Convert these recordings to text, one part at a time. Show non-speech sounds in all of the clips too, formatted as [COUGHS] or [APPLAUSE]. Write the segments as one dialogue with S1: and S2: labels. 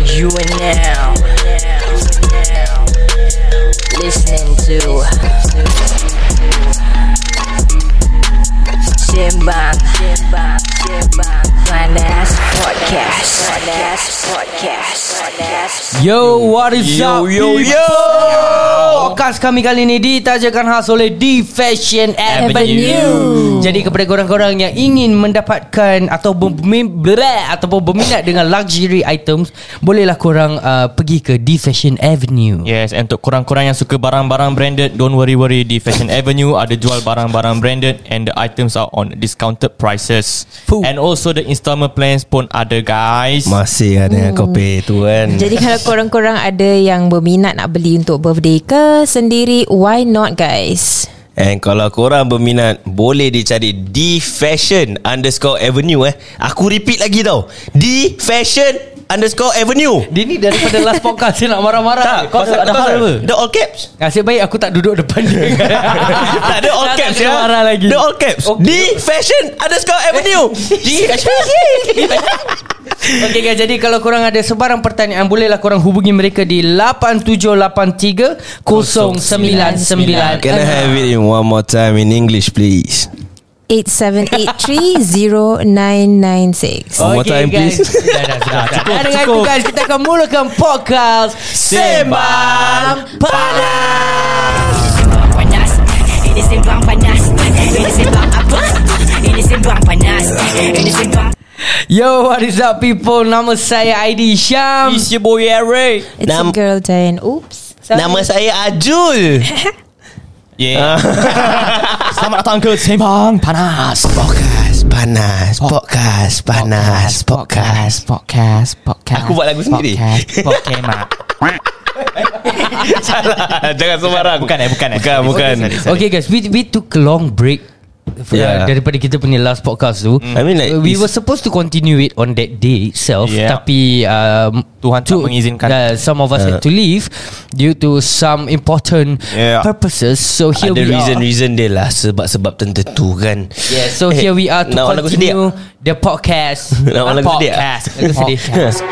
S1: You are now listening to Simbang Finance Podcast. Finance Podcast. Finance
S2: Yo, what is
S3: Yo,
S2: up?
S3: yo,
S2: people?
S3: yo!
S2: Podcast kami kali ini ditajakan khas oleh D Fashion Avenue. Jadi kepada korang-korang yang ingin mendapatkan atau berminat ataupun berminat dengan luxury items, bolehlah korang uh, pergi ke D Fashion Avenue.
S4: Ya.
S3: Yes, and untuk korang-korang yang suka barang-barang branded, don't worry-worry. Di Fashion Avenue ada jual barang-barang branded and the items are on discounted prices.
S2: Fuh.
S3: And also the installment plans pun ada guys. [LAUGHS]
S4: Masih ada hmm. kopi tu kan
S5: Jadi kalau
S4: [LAUGHS]
S5: korang-korang ada yang berminat nak beli untuk birthday ke sendiri, why not guys?
S4: And kalau korang berminat Boleh dicari D Fashion Underscore Avenue eh Aku repeat lagi tau D Fashion Underscore Avenue
S2: Dia ni daripada last podcast dia nak marah-marah. Kau
S4: pasal-
S2: ada, ada
S4: kau
S2: hal
S4: pasal-
S2: apa?
S4: The all
S2: [LAUGHS]
S4: caps
S2: Nasib baik aku tak duduk depan dia.
S4: [LAUGHS] Tak ada all
S2: Tak, tak
S4: caps
S2: kena
S4: ya
S2: marah lagi.
S4: The all caps
S2: Okay.
S4: D Fashion Underscore
S2: [LAUGHS]
S4: Avenue D Fashion
S2: Okey guys, jadi kalau korang ada sebarang pertanyaan bolehlah korang hubungi mereka di 8783 0999.
S4: Can I have it in one more time in English please
S5: 87830996.
S4: One more time,
S2: guys.
S4: please.
S2: Dah, dah, dah, dah. Dan dengan itu guys, kita akan mulakan podcast Sembang Panas.
S6: panas Ini sembang panas Ini sembang apa? Ini sembang panas Ini sembang
S2: Yo, what is up people? Nama saya Aidy Syam.
S3: It's your boy Eric.
S5: It's
S4: Nam-
S5: a girl Jan. Oops. Sorry.
S4: Nama saya
S2: [LAUGHS]
S4: Ajul Ah.
S3: Yeah. Selamat datang ke Sembang Panas.
S4: Podcast Panas Podcast Panas Podcast
S2: podcast, podcast.
S4: Aku buat lagu sendiri.
S2: Pokemon. [LAUGHS]
S4: Salah Jangan sembarang
S3: Bukan eh, bukan eh.
S4: Bukan bukan
S2: Okay guys, we we took a long break for, yeah.
S4: Yeah. Mm.
S2: daripada kita punya last podcast tu.
S4: I mean, like,
S2: we
S4: it's-
S2: were supposed to continue it on that day itself,
S3: Yeah.
S2: tapi um,
S3: Tuhan tak mengizinkan.
S2: Uh, some of us uh. had to leave due to some important yeah.
S3: Yeah.
S2: purposes. So here
S4: Ada
S2: we are.
S4: reason-reason dia lah Sebab-sebab tertentu kan
S2: Yeah, so here we are to
S4: nak lagu sedih
S2: continue the podcast.
S4: [LAUGHS] Nak orang lagu sedih
S2: podcast. Lagu sedih.
S4: [LAUGHS] Podcast.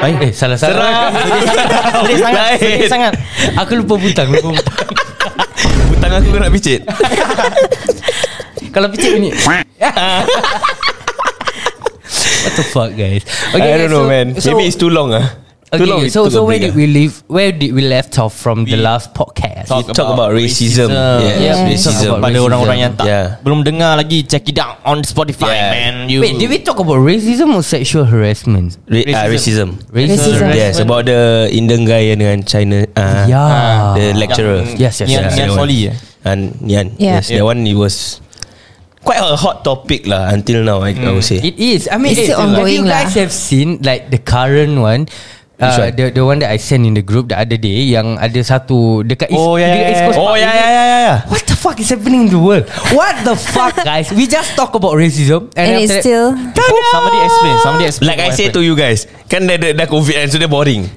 S2: Eh, salah salah.
S4: Sedih sangat Sedih sangat
S2: Aku lupa butang, lupa butang.
S4: eh? Hutang aku kena
S2: [LAUGHS]
S4: picit
S2: Kalau picit
S4: [LAUGHS]
S2: bunyi What the fuck guys
S4: I
S2: guys,
S4: don't know man Maybe it's too long ah. Too long
S2: Okay,
S4: we
S2: so
S4: took
S2: so
S4: a
S2: where
S4: break
S2: did
S4: ah.
S2: we leave? Where did we left off from the
S3: We
S2: last podcast?
S3: talk-
S4: We talk about racism Yes
S2: Yeah.
S4: racism
S2: Talk about
S3: Pada orang-orang yang tak
S4: Yeah.
S3: belum dengar lagi, check it out on Spotify,
S4: Yeah.
S3: man. You.
S2: Wait, did we talk about racism or sexual harassment?
S4: Ra- ah,
S3: Racism.
S4: Racism
S5: Racism.
S4: Yes about the Indian guy dengan China ah,
S2: Yeah.
S4: The lecturer
S2: Yes, yes,
S3: Nian,
S2: yes.
S3: Nian
S4: that one.
S3: Soli, eh?
S4: And Nian
S5: Yeah.
S4: Yes that one it was Quite a hot topic lah Until now I, I would say
S2: It is. I mean,
S5: It's
S2: it,
S5: still
S2: If
S5: ongoing
S2: you guys
S5: lah.
S2: have seen like the current one, uh,
S4: one?
S2: the the one that I sent in the group the other day, yang ada satu dekat
S3: Oh,
S2: East,
S3: yeah,
S2: dekat
S3: yeah,
S2: East Coast
S3: yeah.
S2: Park
S3: Oh,
S2: is it?
S3: yeah, yeah, yeah, yeah, yeah.
S2: What the fuck is happening in the world? What the fuck, guys? We just talk about racism after
S5: And it's
S2: that-
S5: still
S3: Somebody explain. Somebody explain.
S4: Like I
S3: what
S4: said
S3: happened.
S4: to you guys Kan dah, dah, dah covid kan So dia boring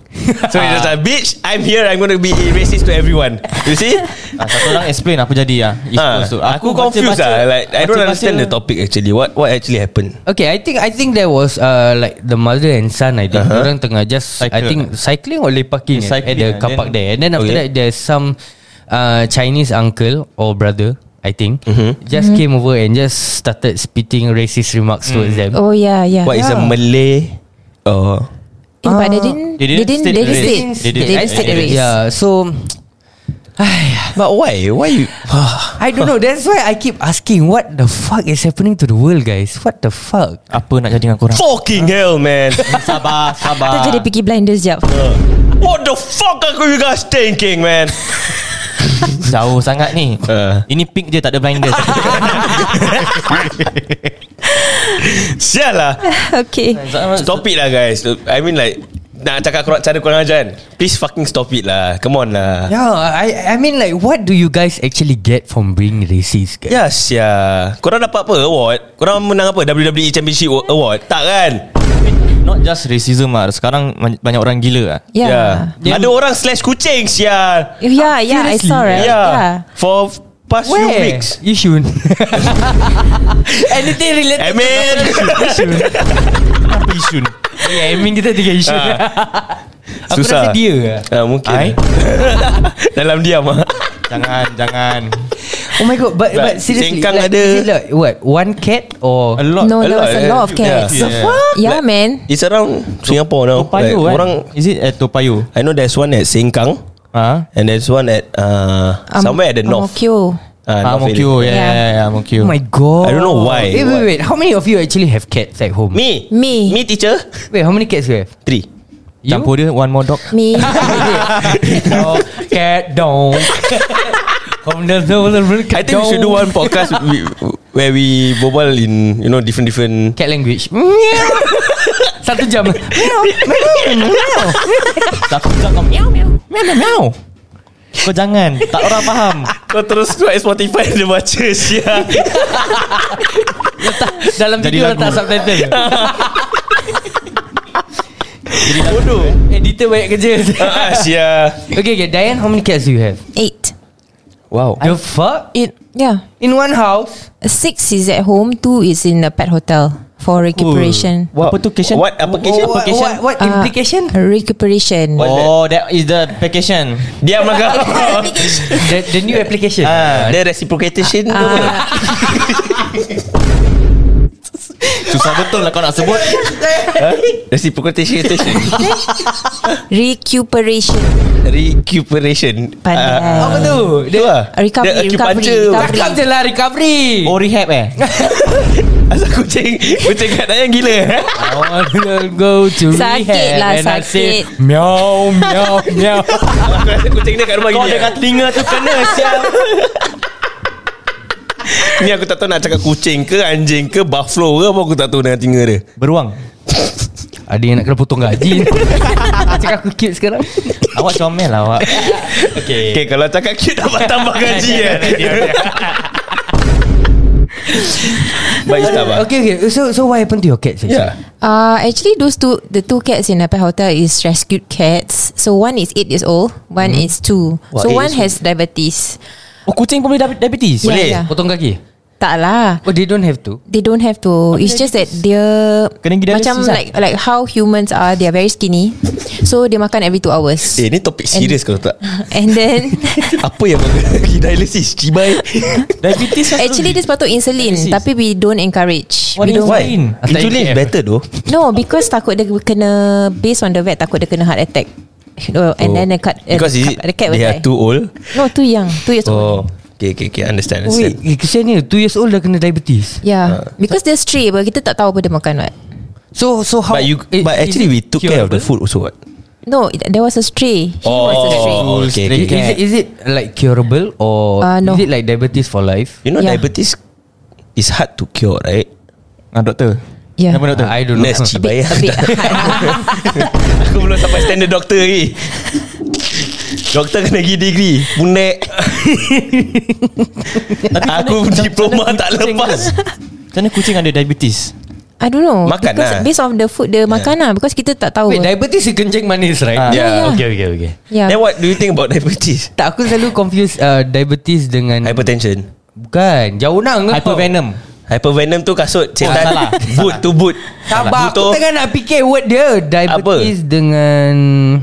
S4: So it's just like Bitch I'm here I'm gonna be racist to everyone You see
S3: Ah, satu orang explain apa jadi ah. East
S4: ha,
S3: Coast tu.
S4: Aku, confused lah
S3: baca-
S4: Like I don't
S3: baca-
S4: understand the
S3: baca-
S4: topic actually What what actually happened
S2: Okay, I think I think there was uh, like the mother and son. I think uh-huh. orang tengah just Cycle. I
S3: Cycle.
S2: think cycling or lay parking yeah,
S3: Yeah,
S2: at
S3: cycling
S2: the
S3: and
S2: car
S3: then-
S2: park there. And then after okay.
S4: Okay.
S2: that, there's some uh, Chinese uncle or brother. I think mm-hmm. just mm-hmm. came over and just started spitting racist remarks mm. towards them.
S5: Oh yeah, yeah.
S4: What is a Malay uh, Or
S5: Eh, but they didn't
S3: They
S5: they
S3: didn't
S5: didn't
S3: state
S5: they
S3: the race.
S5: didn't
S3: They
S5: state
S3: didn't
S5: they didn't state the race.
S2: Yeah, so [SIGHS]
S4: But why Why you
S2: I don't know. That's why I keep asking, what the fuck is happening to the world, guys? What the fuck?
S3: Apa nak jadi dengan korang?
S4: Fucking hell man
S3: Sabar,
S5: Tu
S3: sabar.
S5: jadi pergi blinders sekejap.
S4: What the fuck Are you guys thinking man
S3: Jauh sangat ni.
S4: Ah.
S3: Ini pink je tak ada blinders.
S4: Sial lah
S5: [LAUGHS] okay.
S4: Stop it lah guys I mean like Nak cakap korang- cara korang ajar kan Please fucking stop it lah Come on lah
S2: Yeah, I I mean like what do you guys actually get from being racist? Guys?
S4: Ya sia Korang dapat apa award? Korang menang apa? WWE Championship Award? Tak kan?
S3: Not just racism lah. Sekarang man- banyak orang gila lah.
S5: Yeah.
S4: Ya. Ada orang slash kucing sia
S5: Yeah, yeah, yeah I
S4: Ya
S5: saw right.
S4: yeah.
S5: Yeah.
S4: For past few weeks
S2: You should. [LAUGHS] Anything related
S4: I mean
S3: Apa isu ni?
S2: Sorry Aiming kita tiga isu
S4: Ah.
S2: [LAUGHS] Aku rasa dia
S4: ah, Mungkin
S3: I?
S4: [LAUGHS] Dalam diam ah.
S3: Jangan Jangan
S2: Oh my god But, but
S4: But
S2: seriously
S4: sengkang
S2: like,
S4: ada.
S2: is it like What One cat or
S3: A lot
S5: No,
S4: a
S5: there
S4: lot,
S5: was a
S4: eh.
S5: lot of cats.
S4: Yeah.
S5: Yeah, yeah man.
S4: It's around Singapore now
S3: Topayu
S4: like,
S3: kan
S4: Orang
S3: Is it at Topayu
S4: I know there's one at Sengkang
S3: Ha?
S4: And there's one at uh,
S5: Am-
S4: Somewhere at the north
S5: Amokyo.
S4: Ah,
S3: Ah,
S4: North
S3: Amokyo
S4: area.
S3: yeah, yeah, yeah, yeah, Amokyo
S2: Oh my god
S4: I don't know why.
S2: Eh, wait, wait wait How many of you actually have cats at home
S4: Me
S5: Me.
S4: Me teacher
S2: Wait how many cats you have
S4: Three
S2: You?
S3: Campur dia One more dog
S5: Me.
S2: Dog, cat dong From the
S4: I think we should do one [LAUGHS] podcast wi- Where we Bobal in You know different different
S2: Cat language Meow. Satu jam Meow, meow, meow.
S3: Aku cakap kau meow meow Meow meow meow Kau jangan Tak orang faham
S4: Kau terus buat Spotify Dia baca siap
S2: Dalam
S3: Jadi
S2: video
S3: lagu.
S2: letak subtitle
S4: Bodoh
S2: Editor banyak kerja
S4: lah. Ah, Sia
S2: Okay okay Diane how many cats do you have
S5: Eight.
S4: Wow
S2: The fuck
S5: It. Yeah.
S2: In one house
S5: Six is at home. Two is in the pet hotel for recuperation.
S3: Apa tu Ah. Kishan?
S4: What application?
S2: What,
S4: application?
S2: what, what
S5: Uh,
S2: implication
S5: recuperation.
S4: What?
S3: Oh that is the vacation
S4: Diam lah kau
S2: the, the new application
S4: Ah, Dia reciprocation tu [LAUGHS]
S5: Ah,
S3: Susah betul lah kau nak
S4: [LAUGHS]
S3: sebut
S4: Reciprocation
S5: recuperation.
S4: Recuperation
S5: Pandai.
S4: Ah,
S2: Apa tu
S4: Tu
S2: Dia
S4: lah
S5: Recovery,
S4: Dia acupuncture.
S5: recovery, recovery.
S2: Cakap je lah recovery
S3: Oh rehab eh
S4: [LAUGHS] Asal kucing Kucing kat Dayang gila eh?
S2: I wanna go to
S5: Sakit
S2: rehab
S5: lah,
S2: And I say
S5: sakit.
S2: Meow meow meow
S4: Aku rasa kucing dia kat rumah
S3: Kau
S4: gila
S3: dengan telinga tu kena siap
S4: Ni aku tak tahu nak cakap kucing ke Anjing ke Buffalo ke Apa aku tak tahu dengan tinggal dia
S3: Beruang
S2: Ada yang nak kena potong
S4: [LAUGHS]
S2: gaji Cakap aku cute sekarang
S3: Awak comel lah awak Okay
S4: Okay kalau cakap cute Dapat tambah gaji eh [LAUGHS] Baik Ya. Istabah
S2: Okay okay So so what happened to your cats actually?
S4: Yeah
S5: Uh, actually, those two, the two cats in the pet hotel is rescued cats. So one is eight years old, one is two.
S4: Wah, Mm-hmm.
S5: so
S4: eight
S5: one
S4: years
S5: has diabetes.
S3: Oh kucing pun boleh dap- diabetes
S5: Boleh? Yeah.
S2: Potong kaki
S5: Tak lah.
S2: Oh they don't have to
S5: They don't have to. It's just that dia
S3: Kena gidah
S5: macam
S3: dialysis lah.
S5: like like how humans are. They are very skinny, so they makan every two hours.
S4: Eh ni topik serius kau tak
S5: And
S4: [LAUGHS]
S5: then
S4: Apa yang Pergi dialysis Cibai
S3: Diabetes lah
S5: actually dia sepatut insulin,
S3: Dialysis.
S5: tapi we don't encourage.
S3: What
S5: we don't.
S3: Why?
S4: Insulin is better though
S5: No, because takut dia kena based on the vet takut dia kena heart attack. Oh, and then the cat, uh,
S4: Because is it,
S5: the cat will
S4: They are
S5: die.
S4: too old
S5: No, too young, two years old.
S4: Oh Okay okay okay Understand
S2: Wait eh,
S4: understand
S2: Kesian ni 2 years old dah kena diabetes
S4: Uh,
S5: Yeah, because they're stray, but kita tak tahu apa dia makan. Right?
S2: So so how
S4: But you
S2: eh,
S4: But
S2: is
S4: actually
S2: it
S4: we took care of the
S2: curable?
S4: food also what
S5: No, it, there was a stray. He was a stray.
S4: Oh okay, okay,
S2: Is
S4: okay.
S2: it, is it like curable or
S5: Uh, no.
S2: is it like diabetes for life?
S4: You know
S5: Yeah.
S4: diabetes Is hard to cure right [LAUGHS]
S3: Ah doktor
S5: Yeah.
S3: Nama doktor
S2: Uh, I don't know.
S4: Nurse
S5: A bit,
S4: Cibai
S5: a bit
S4: Aku belum sampai standard doktor lagi Doktor kena pergi degree Bunek
S2: [LAUGHS]
S4: Aku diploma tak lepas
S3: Macam mana kucing ada diabetes
S5: I don't know.
S4: Makan
S5: because
S4: lah.
S5: Based on the food dia makan lah. Because kita tak tahu.
S2: Wait, diabetes is kencing manis, right?
S3: Ah.
S5: Yeah, yeah.
S2: Okay, okay, okay.
S5: yeah.
S4: Then what do you think about diabetes?
S2: Tak, aku selalu confuse uh, diabetes dengan
S4: Hypertension
S2: Bukan, jauh nak kau.
S3: Hypervenom
S4: Hypervenom tu kasut
S3: Ah,
S4: Setan
S3: salah.
S4: Boot to boot
S2: Sabar, aku
S4: Butuh.
S2: tengah kan nak fikir word dia. Diabetes Apa? dengan...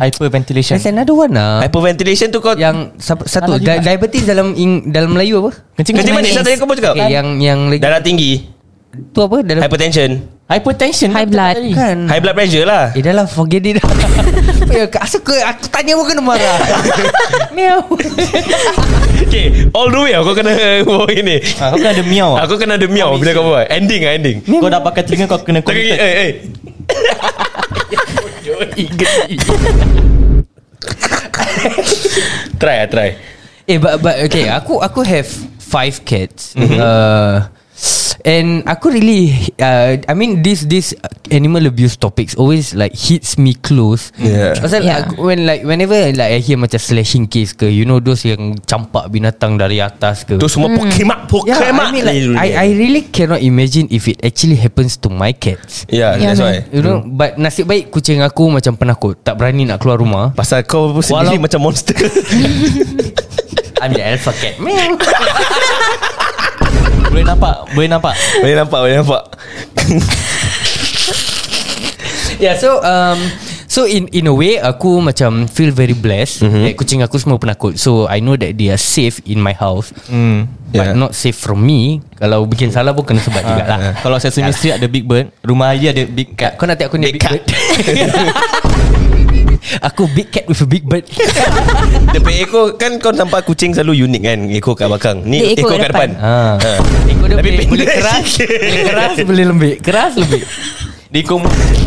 S3: Hyperventilation
S2: There's another one lah.
S4: Hyperventilation tu kau
S2: Yang sa- satu,
S3: Salah juga.
S2: di- diabetes dalam ing, dalam Melayu apa?
S3: Kencing
S4: Kencing manis
S5: manis.
S4: Tadi kau pun cakap
S2: Okay, yang yang lagi
S4: Darah tinggi
S2: tu apa dalam
S4: Hypertension
S3: Hypertension
S5: High blood.
S2: kan
S4: High blood pressure lah
S2: Eh dah [LAUGHS] lah forget it Ya, Asal ke aku tanya pun kena marah Meow
S4: Okay All the way lah Kau kena [LAUGHS] Bawa ini
S3: Ah, Kau kena ada miau
S4: Aku kena ada miau Bila kau buat Ending lah ending
S3: Kau dah pakai telinga Kau kena
S4: Tak kaki
S3: contact
S4: Eh eh [LAUGHS] Try lah try
S2: Eh but, but okay Aku aku have Five cats mm-hmm. uh, And aku really uh, I mean this this animal abuse topics always like hits me close.
S4: Yeah.
S2: Pasal
S5: Yeah.
S2: yeah. Aku, when like whenever like I hear macam slashing case ke, you know those yang campak binatang dari atas ke.
S4: Tu semua pokemak
S2: yeah,
S4: Pokemak
S2: Hmm. Ya, I mean like I, I really cannot imagine if it actually happens to my cats.
S4: Yeah Ya,
S5: Yeah,
S4: that's
S5: man.
S4: why
S2: You know, but nasib baik kucing aku macam penakut, tak berani nak keluar rumah.
S4: Pasal kau sendiri
S2: Walau-
S4: macam monster [LAUGHS]
S2: I'm the alpha cat. [LAUGHS] Meow.
S3: Boleh nampak Boleh nampak
S4: Boleh nampak Boleh nampak
S2: Yeah so um, So in in a way Aku macam feel very blessed mm-hmm. That kucing aku semua penakut So I know that they are safe In my house mm. But
S4: Yeah.
S2: yeah. not safe from me Kalau bikin salah pun Kena sebat juga lah
S3: Ah, Kalau Sesame Street ada Big Bird Rumah Ayi ada Big Cat
S2: Kau nak tengok aku ni
S4: Big
S2: big bird
S4: [LAUGHS]
S2: Aku big cat with a big bird
S4: Depan ekor Kan kau nampak kucing selalu unik kan Ekor kat belakang Ni
S5: Dia
S4: ekor, ekor kat depan,
S2: ha. Ekor dia boleh,
S4: Tapi
S2: boleh
S4: pendek
S2: keras
S4: sikit.
S2: Boleh keras boleh lembik Keras lembik
S3: Di kom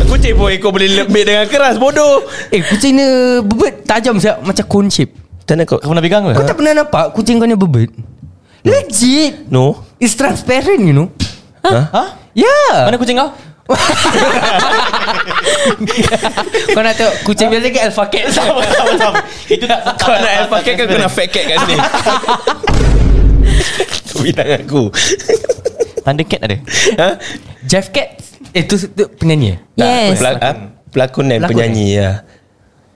S4: Kucing pun ekor boleh lembik dengan keras Bodoh
S2: Eh kucing ni bebet tajam siap Macam cone shape
S4: Tak nak kau
S3: Kau pernah pegang ke?
S2: Kau tak pernah nampak kucing kau ni bebet? Legit
S4: No
S2: It's transparent you know
S3: Ha?
S2: Yeah
S3: Mana kucing kau?
S2: Kau nak tengok kucing biasa ke alpha cat [LAUGHS]
S3: Sama-sama Itu tak
S4: Kau nak alpha cat kan Kau nak fat cat kat [LAUGHS] sini Kau bilang aku
S3: Thundercat ada
S4: ha?
S2: Jeff cat Eh tu, tu penyanyi eh?
S5: Yes.
S4: Pelak, ha? Pelakon dan
S2: Pelakon
S4: penyanyi ya.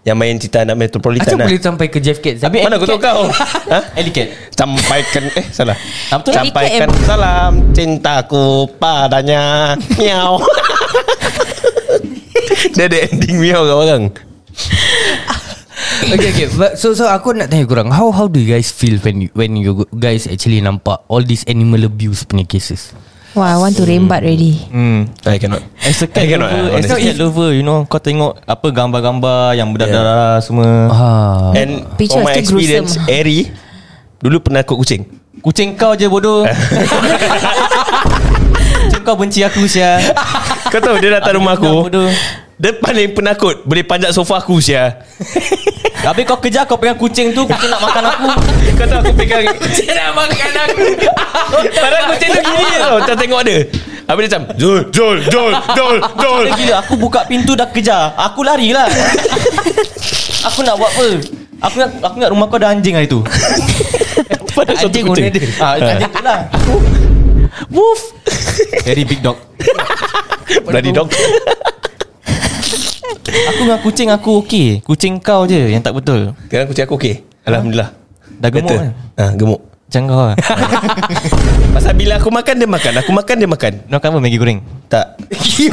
S4: Yang main cerita anak metropolitan
S2: Macam
S4: lah.
S2: boleh sampai ke Jeff cat
S4: Mana aku tahu kau
S3: [LAUGHS]
S4: ha?
S3: Alley cat
S4: Sampaikan Eh salah
S5: tu?
S4: Sampaikan
S5: LDKM.
S4: salam Cintaku padanya Miau [LAUGHS] Dia ada ending miau kat orang
S2: Okay okay But So so aku nak tanya korang How how do you guys feel When you, when you guys actually nampak All these animal abuse punya cases
S5: Wah, I want to rembat already.
S4: Mm.
S3: Hmm
S4: I cannot
S3: As a cat
S4: I cannot,
S3: lover
S4: uh,
S3: As a
S4: honestly.
S3: cat lover You know Kau tengok Apa gambar-gambar Yang berdarah-darah semua
S2: Ah,
S4: And
S5: Picture
S4: from my
S5: is too
S4: experience
S5: gruesome.
S4: Eri Dulu pernah kot kucing
S3: Kucing kau je bodoh Kucing kau benci aku Syah
S4: [LAUGHS] Kau tahu dia datang
S3: Aku
S4: rumah aku
S3: bilang bodoh.
S4: Dia paling penakut Boleh panjat sofa aku sia
S3: Habis kau kejar Kau pegang kucing tu Kucing nak makan aku
S4: Kau tahu aku pegang Kucing nak makan aku Padahal kucing tu gini je tau Tak tengok dia Habis dia macam Zul Zul Zul Zul Zul
S3: Dia Eh, gila Aku buka pintu dah kejar Aku lari lah Aku nak buat apa Aku nak aku nak rumah kau ada anjing hari tu
S4: Pada satu
S2: Anjing
S4: kucing
S2: owner dia.
S3: Ah, anjing tu lah
S4: Woof
S3: [LAUGHS] Very big dog
S4: [LAUGHS] Bloody dog
S3: Aku dengan kucing aku okey Kucing kau je yang tak betul
S4: Sekarang kucing aku okey Alhamdulillah
S3: Dah gemuk
S4: Better.
S3: kan?
S4: Ah, Gemuk
S3: Macam kau lah
S4: Pasal bila aku makan dia makan Aku makan dia makan
S3: Nak makan apa Maggi goreng
S4: Tak [LAUGHS]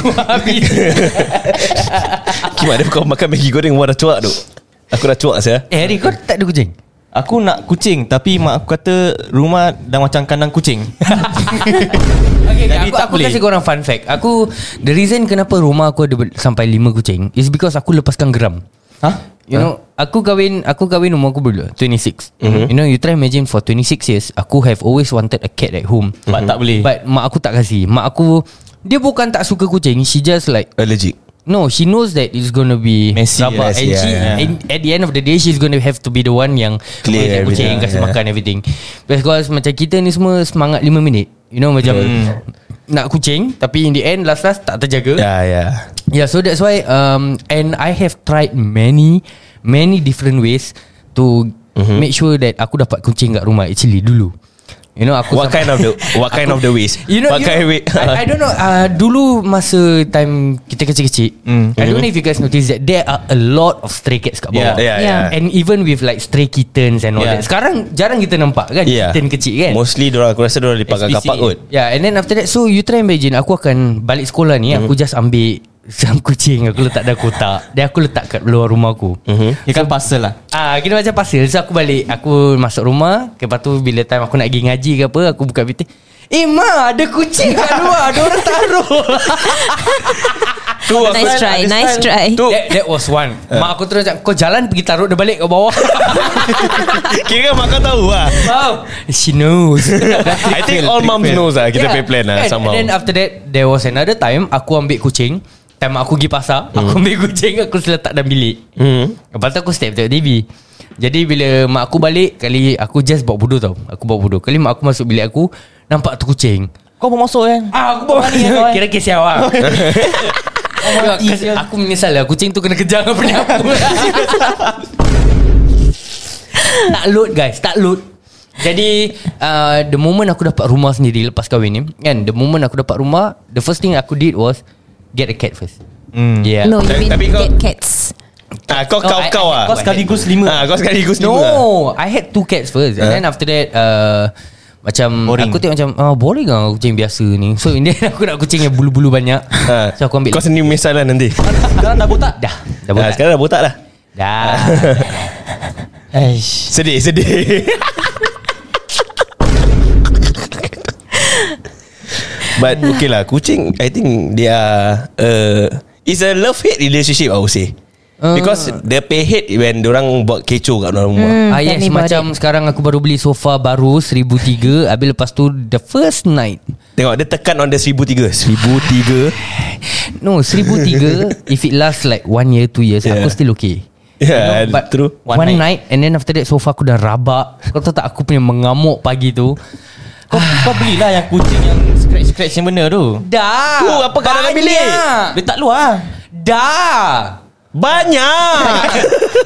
S4: Kimak dia kau makan Maggi goreng Wah dah cuak tu Aku dah cuak saya
S2: Eh Harry kau tak ada kucing
S3: Aku nak kucing Tapi mak aku kata Rumah dah macam kandang kucing
S2: Okay, okay
S3: Jadi
S2: aku,
S3: tak
S2: aku
S3: boleh.
S2: kasih korang fun fact Aku The reason kenapa rumah aku ada ber- Sampai lima kucing Is because aku lepaskan geram
S3: Hah?
S2: You know Aku kahwin Aku kahwin umur aku berapa 26
S4: Mhm.
S2: mm-hmm. You know you try imagine For 26 years Aku have always wanted a cat at home
S3: But tak
S4: Eh.
S3: boleh.
S2: But mak aku tak kasih Mak aku Dia bukan tak suka kucing She just like
S4: Allergic
S2: No, she knows that it's going to be
S3: Messy,
S2: rabak.
S4: yes,
S2: and
S4: yeah,
S2: she,
S4: yeah.
S2: And at the end of the day, she's going to have to be the one yang
S4: Clear
S2: yang kucing,
S4: everything,
S2: kasih
S4: yeah.
S2: makan everything. Because macam kita ni semua semangat 5 minit. You know macam
S4: Hmm.
S2: nak kucing tapi in the end last last tak terjaga. Yeah,
S4: Ya ya
S2: yeah so that's why um and I have tried many many different ways to mm-hmm. make sure that aku dapat kucing kat rumah actually dulu. You know aku
S4: What
S2: sampai-
S4: kind of the What kind of the ways
S2: [LAUGHS] You know,
S4: What
S2: you know
S4: kind way
S2: I, I don't know uh, Dulu masa time kita kecil-kecil
S4: Mm.
S2: I don't know if you guys notice that There are a lot of stray cats kat bawah
S4: Mm-hmm. Yeah, yeah.
S5: Yeah.
S2: And even with like stray kittens and all that
S3: Yeah.
S2: Sekarang jarang kita nampak kan
S4: Yeah.
S2: Kitten kecil kan
S4: Mostly dorang aku rasa dorang dipakai
S3: SPCA.
S4: kapak kot.
S2: Yeah and then after that So you try imagine Aku akan balik sekolah ni
S4: Hmm.
S2: Aku just ambil [LAUGHS] Sam kucing Aku letak dalam kotak Then aku letak kat luar rumah aku
S4: Hmm.
S3: Dia kan parcel lah
S2: Ah, kira macam pasal So aku balik Aku masuk rumah Lepas tu bila time aku nak pergi ngaji ke apa Aku buka pintu Eh ma ada kucing kat luar Ada orang taruh
S4: Tu aku
S5: Oh, Nice try, nice try.
S4: [LAUGHS] Tu Eh.
S2: that, that was one Mak aku terus cakap Kau jalan pergi taruh dia balik ke bawah [LAUGHS]
S4: kira mak kau tahu lah.
S2: Wow [LAUGHS] She knows
S4: [LAUGHS] I think all moms knows lah kita pay plan lah
S2: and,
S4: somehow.
S2: and then after that There was another time Aku ambil kucing Time aku pergi pasar Aku ambil kucing Aku seletak dalam bilik
S4: Hmm.
S2: Lepas tu aku step tengok TV Jadi bila mak aku balik Kali aku just bawa bodoh tau Aku bawa bodoh Kali mak aku masuk bilik aku Nampak tu kucing
S3: Kau pun masuk kan
S2: Ah, aku bawa ni
S3: kau, eh.
S2: Kira kes awak
S3: mati
S2: Aku-
S3: sial.
S2: Aku menyesal lah Kucing tu kena kejar dengan benda aku [LAUGHS] Tak load guys Tak load Jadi uh, The moment aku dapat rumah sendiri Lepas kahwin ni Kan The moment aku dapat rumah The first thing aku did was Get a cat first
S3: Hmm.
S2: Yeah
S5: No, you
S4: Tapi-
S5: mean
S4: tapi kau-
S5: get cats.
S4: Ah kau
S2: No,
S4: kau
S2: Oh, I-
S4: kau
S2: I-
S4: ah.
S3: Kau sekaligus lima
S4: Ah kau sekaligus
S2: No
S4: lima.
S2: I had two cats first And then after that uh, Macam
S3: Boring.
S2: boring. Aku tengok macam oh, Boring lah kucing biasa ni So in the end [LAUGHS] aku nak kucing yang bulu-bulu banyak
S4: Ha.
S2: So aku ambil
S4: Kau sendiri menyesal lah nanti
S2: Sekarang dah botak Dah Dah
S4: Ah,
S2: botak
S4: Sekarang dah botak dah
S2: [LAUGHS] Dah Eish.
S4: Sedih sedih But okay lah Kucing I think They are uh, It's a love hate relationship I would say
S5: Ah.
S4: Because They pay hate When orang buat kecoh Kat dalam rumah
S2: Ah
S5: tell
S2: yes
S5: me about
S2: Macam sekarang aku baru beli sofa baru 1003 Habis lepas tu The first night
S4: Tengok dia tekan on the 1003 1003
S2: No
S4: [LAUGHS]
S2: 1003 If it lasts like One year two years yeah. Aku
S4: Yeah.
S2: still okay
S4: Yeah
S2: But
S4: True
S2: One, one night. night And then after that Sofa aku dah rabak Kau tahu tak Aku punya mengamuk pagi tu
S3: Kau, kau belilah yang kucing yang scratch-scratch yang benda tu.
S2: Dah
S4: Tu, apa kat dalam bilik?
S2: Banyak.
S3: Dia tak luar.
S2: Dah [LAUGHS]
S4: Banyak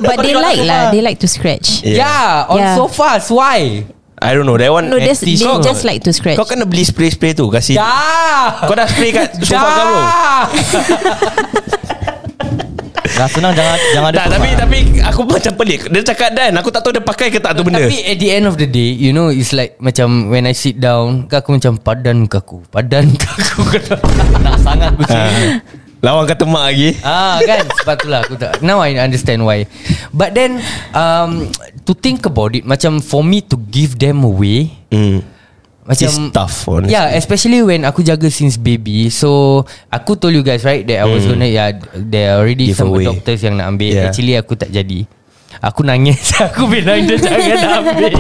S5: But they like lah They like to scratch
S2: Yeah,
S4: yeah.
S2: yeah Ya, On
S5: Yeah.
S2: yeah. sofas Why
S4: I don't know That one
S5: No that's, they
S4: anti- kau-
S5: just like to scratch
S4: Kau
S5: Ya.
S4: kan kena beli spray-spray tu Kasih
S2: Dah
S4: Kau dah spray kat sofa
S2: Dah.
S4: kau bro
S3: Dah senang jangan jangan
S4: Tak tapi tapi aku macam pelik. Dia cakap dan aku tak tahu dia pakai ke tak tu benda.
S2: Tapi at the end of the day You know it's like Macam when I sit down ke Aku macam padan ke aku Padan ke aku
S4: [LAUGHS]
S2: Nak sangat aku
S4: Ha. Lawan kata mak lagi.
S2: Ah kan Sebab tu lah aku tak Now I understand why But then um, To think about it Macam for me to give them away
S4: Hmm.
S2: Macam
S4: It's tough, honestly.
S2: Yeah especially when Aku jaga since baby So Aku told you guys right That I was gonna yeah, There are already
S4: Hmm. Give
S2: some
S4: away.
S2: doctors yang nak ambil
S4: Yeah.
S2: yeah. Actually aku tak jadi Aku nangis [LAUGHS] Aku bilang dia jangan ambil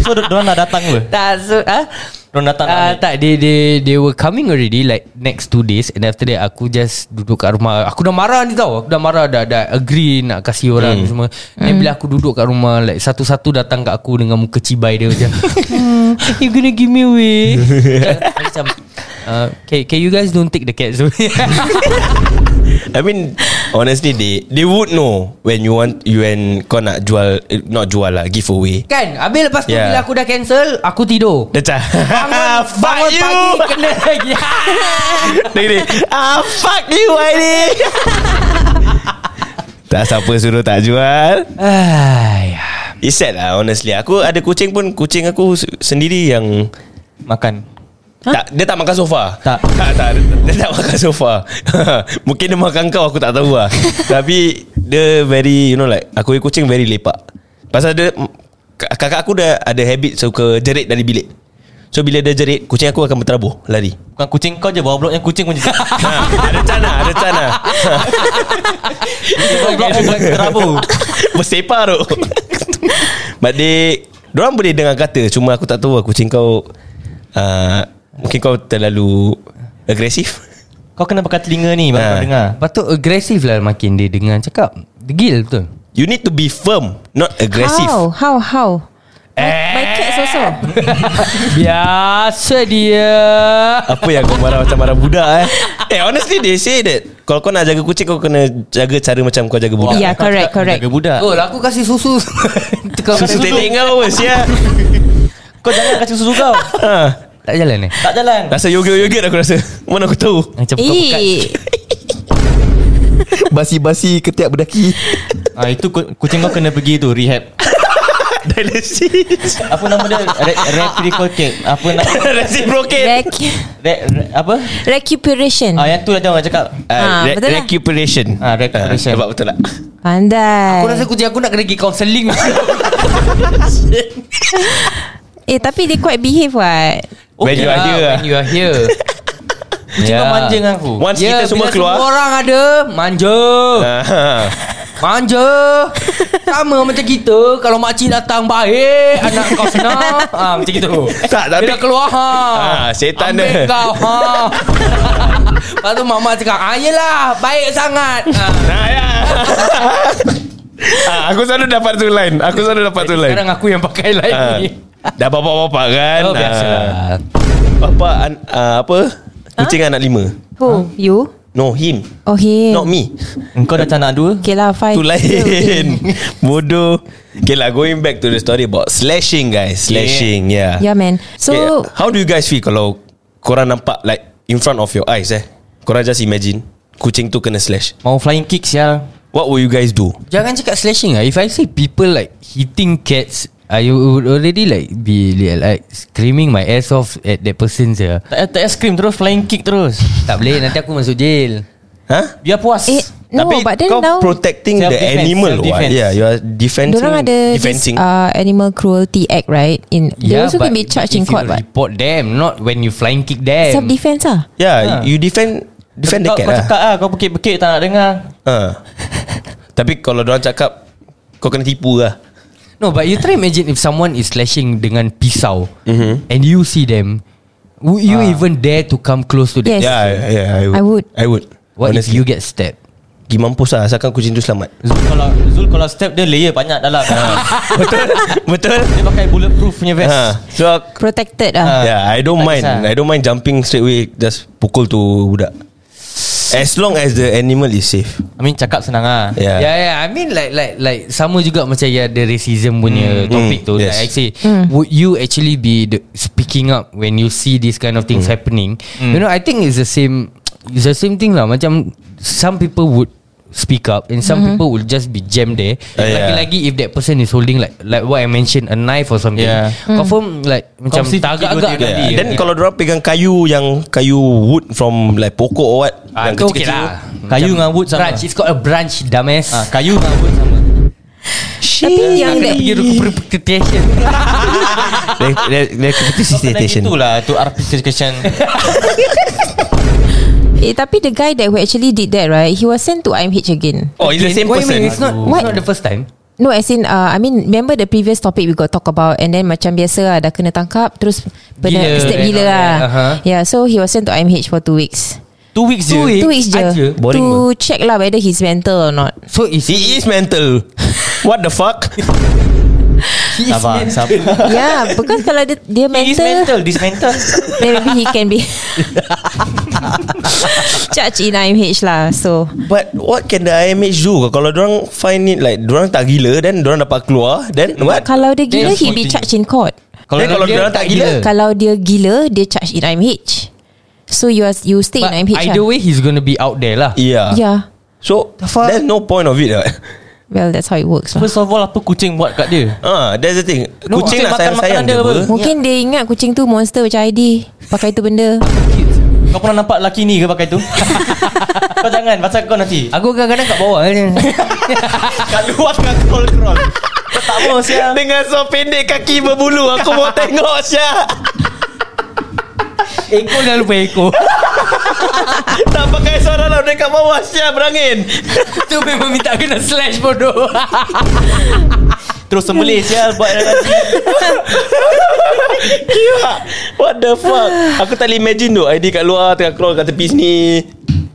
S3: So dia nak datang ke?
S2: Tak so ah,
S3: Dia datang nak
S2: Ah,
S3: ambil.
S2: tak they, they they were coming already like next two days and after that aku just duduk kat rumah aku dah marah ni tau aku dah marah dah dah agree nak kasih orang ni semua then bila aku duduk kat rumah like satu-satu datang kat aku dengan muka cibai dia macam "Hmm, you gonna give me away Macam- macam uh, can, can you guys don't take the cat so
S4: I mean honestly they they would know when you want you when kau nak jual eh, not jual lah give away.
S2: [LAUGHS] kan habis lepas tu
S4: Yeah.
S2: yeah. bila aku dah cancel aku tidur
S4: Dia cakap
S2: bangun,
S4: [LAUGHS] Fuck
S2: bangun
S4: you
S2: pagi kena lagi
S4: Dia gini Ah fuck you Aini [LAUGHS] Tak siapa suruh tak jual
S2: Ay,
S4: It's sad lah honestly Aku ada kucing pun Kucing aku se- sendiri yang
S3: Makan.
S4: Tak, dia tak makan sofa.
S3: Tak.
S4: [LAUGHS] tak, tak dia, dia tak makan sofa. [LAUGHS] Mungkin dia makan kau aku tak tahu lah. Tapi dia very you know like aku punya kucing very lepak. Pasal dia k- kakak aku dah ada habit suka jerit dari bilik. So bila dia jerit kucing aku akan berterabur lari.
S3: Bukan kucing kau je bawa blok yang kucing pun je.
S4: Ha, ada cana, ada cana.
S3: Bawa blok pun bukan kerabu.
S4: Bersepar tu. But they Diorang boleh dengar kata Cuma aku tak tahu lah Kucing kau uh, Mungkin kau terlalu Agresif
S3: Kau kena pakai telinga ni baru
S4: Ha.
S3: kau dengar.
S2: Patut agresif lah makin dia dengan cakap Degil betul
S4: You need to be firm Not aggressive Eh.
S5: How How How My, my cats also
S2: [LAUGHS] Biasa dia
S4: Apa yang kau marah Macam marah budak eh Eh honestly they say that Kalau kau nak jaga kucing Kau kena jaga cara Macam kau jaga budak
S5: Yeah correct correct
S3: Jaga budak.
S2: Oh lah aku kasih susu [LAUGHS] Tekan
S4: Susu tetek kau pun Sia
S3: Kau jangan kasi susu
S2: [LAUGHS]
S3: kau.
S4: ha.
S2: Tak jalan eh
S3: Tak jalan.
S4: Rasa yogurt-yogurt aku rasa Mana aku tahu [LAUGHS]
S2: Macam kau pekat
S5: Eh
S4: Basi-basi ketiak berdaki
S3: Ah itu ku- kucing kau kena pergi tu rehab.
S4: Dialysis
S3: Apa nama dia? Re- Replicate. Apa nama?
S4: [LAUGHS] Reciprocate
S5: rec-
S3: Re- re- apa?
S5: Recuperation
S3: Ah yang tu lah jangan cakap.
S5: Ah,
S4: Ah,
S2: lah.
S4: re-
S5: betul tak?
S4: Recuperation
S3: Ah, recuperation.
S4: Ah, Nampak betul tak
S5: Pandai
S2: Aku rasa kucing aku nak kena pergi counselling
S5: Eh tapi they quite behave what
S4: When you are
S2: lah,
S4: here ah.
S2: When you are here
S3: Kucing kau manja dengan aku.
S4: Once
S2: Ya,
S4: Kan kita semua
S2: bila
S4: keluar
S2: Semua orang ada Manja
S4: ah,
S2: Manja Sama macam kita Kalau makcik datang baik Anak kau
S4: [LAUGHS]
S2: senang ha, Macam gitu
S4: Tak, tapi-
S2: Bila keluar ha,
S4: Ah, setan
S2: ambil
S4: dia.
S2: kau
S4: [LAUGHS]
S2: ha. Lepas tu mamak cakap ah, Yelah baik sangat ha.
S4: Nah, ya. ah, Aku selalu dapat tu line Aku selalu dapat tu line
S2: Sekarang aku yang pakai lain
S4: Ah,
S2: ni
S4: Dah bapak-bapak kan
S2: Oh biasa
S4: Ah. Bapak an, ah, Apa Kucing anak lima
S5: Who You
S4: No him
S5: Oh him
S4: Not me
S3: Engkau dah canak dua?
S5: Okay lah fine
S4: Tu
S2: [LAUGHS]
S4: lain Bodoh Okay lah Going back to the story About slashing guys Slashing
S2: Ya,
S4: yeah,
S5: Yeah man
S4: Okay,
S5: So
S4: How do you guys feel Kalau Korang nampak like In front of your eyes eh Korang just imagine Kucing tu kena slash
S3: Mau flying kick sial.
S4: What will you guys do
S2: Jangan cakap slashing lah If I say people like Hitting cats I would already like be like screaming my ass off at that person je.
S3: Tak payah, tak payah scream terus Flying kick terus
S2: Tak boleh nanti aku masuk jail.
S4: Ha?
S3: Biar puas
S5: Eh, no,
S4: Tapi
S5: but then
S4: kau
S5: now
S4: protecting the
S3: Self-defense,
S4: animal what?
S3: self-defense.
S4: Yeah, you are defending
S5: Diorang ada this
S4: defending.
S5: uh, Animal Cruelty Act right in, They also can be charged in
S2: if
S5: court
S2: you
S5: but
S2: report them, not when you flying kick them.
S5: Self defense lah
S4: yeah, you defend defend the
S3: kau,
S4: cat
S3: kau
S4: lah.
S3: cakap lah Kau bekit-bekit tak nak dengar
S4: Ha. Tapi kalau orang cakap kau kena tipu lah.
S2: No, but you try imagine if someone is slashing dengan pisau and you see them, would you even dare to come close to them?
S5: Yes.
S4: Yeah, I- yeah, I would.
S5: I would.
S4: I would.
S2: What if you get stabbed?
S4: Pergi mampus lah Asalkan kucing tu selamat
S3: [LAUGHS] Zul kalau, Zul kalau step dia layer banyak dalam
S4: Betul Betul
S3: Dia pakai bulletproof punya vest
S4: ha. So aku-
S5: Protected lah
S4: Yeah I don't
S3: Tak
S4: mind
S3: kisah.
S4: I don't mind jumping straight away Just pukul tu budak As long as the animal is safe
S3: I mean cakap senang lah
S2: Yeah. yeah,
S4: Yeah,
S2: I mean like like like sama juga macam ya the racism punya topic
S4: Mm.
S2: tu.
S4: Yes.
S2: Like I say, would you actually be the, speaking up when you see these kind of things happening? You know, I think it's the same. It's the same thing lah. Macam some people would speak up and some people will just be jammed there.
S4: Ah, yeah.
S2: Lagi-lagi if that person is holding like like what I mentioned a knife or something.
S3: Yeah.
S2: Confirm like macam
S3: Confirm
S2: tak agak-agak
S3: tiga-tiga
S2: nanti.
S3: kali.
S4: yeah, Then yeah. kalau orang pegang kayu Yang kayu wood From like pokok or what
S2: Ah,
S4: Yang
S2: tu okay
S4: kecil-kecil
S2: lah.
S3: Kayu dengan wood sama.
S2: Branch. It's called a branch, dumbass.
S3: ha, Kayu dengan wood sama
S5: Tapi yang
S2: Kena
S5: that
S2: pergi recuperation.
S4: Dia, dia, dia repetition station
S3: Itulah tu lah,
S5: [LAUGHS]
S3: articulation
S5: eh, Tapi the guy that who actually did that right He was sent to IMH again
S4: Oh it's the same
S2: What do you
S4: person
S2: mean? It's not,
S5: What?
S2: it's not the first time.
S5: No as in uh, I mean Remember the previous topic We got talk about And then macam biasa lah Dah kena tangkap Terus Bila
S2: Gila
S5: Step
S2: and
S5: gila
S2: all
S5: lah
S2: that. Aha.
S5: Yeah so he was sent to IMH for two weeks
S3: Two weeks
S2: Two
S3: je
S2: weeks?
S5: Two weeks je
S2: Aja.
S4: Boring
S5: To check lah Whether he's mental or not
S2: So is he,
S4: He is mental What the fuck
S2: he is
S3: Sabar Sabar
S5: Yeah Because kalau dia, dia
S3: He is
S5: mental
S3: mental This mental
S5: [LAUGHS] Then maybe he can be Judge in IMH lah So
S4: But what can the IMH do Kalau orang find it like orang tak gila Then orang dapat keluar Then what
S5: Kalau dia gila
S3: Yes,
S5: He be
S3: continue.
S5: charged in court
S4: Kalau,
S2: Then
S4: kalau
S2: dia
S4: orang
S2: tak
S4: tak gila
S2: gila.
S5: Kalau dia gila Dia charged in IMH So you are, you stay
S2: But
S5: in IMH
S2: either
S5: lah.
S2: way he's gonna be out there lah.
S4: Yeah.
S5: Yeah
S4: So there's no point of it. right?
S5: Well that's how it works lah.
S3: First of all Apa kucing buat kat dia
S4: Ah, that's the thing.
S3: No,
S4: Kucing
S3: kucing
S4: nak
S3: makan
S4: sayang-sayang
S3: makanan
S4: dia
S3: dia
S4: apa?
S3: apa?
S5: Mungkin dia ingat kucing tu monster macam ID Pakai tu benda
S3: Kau pernah nampak lelaki ni ke pakai tu Kau jangan Pasal kau nanti
S2: Aku kadang-kadang kat bawah eh. [LAUGHS] je.
S4: Kat luar dengan kontrol.
S3: Tak mau siang
S4: dengan so pendek kaki berbulu aku [LAUGHS] mau tengok Syah.
S2: Ekor dah lupa ekor.
S4: tak pakai suara lah dekat bawah Syah berangin.
S2: [LAUGHS] tu memang minta kena slash bodoh.
S3: Terus sembelih sial Buat lelaki
S4: What the fuck? aku tak boleh imagine tu. ID kat luar tengah crawl kat tepi sini.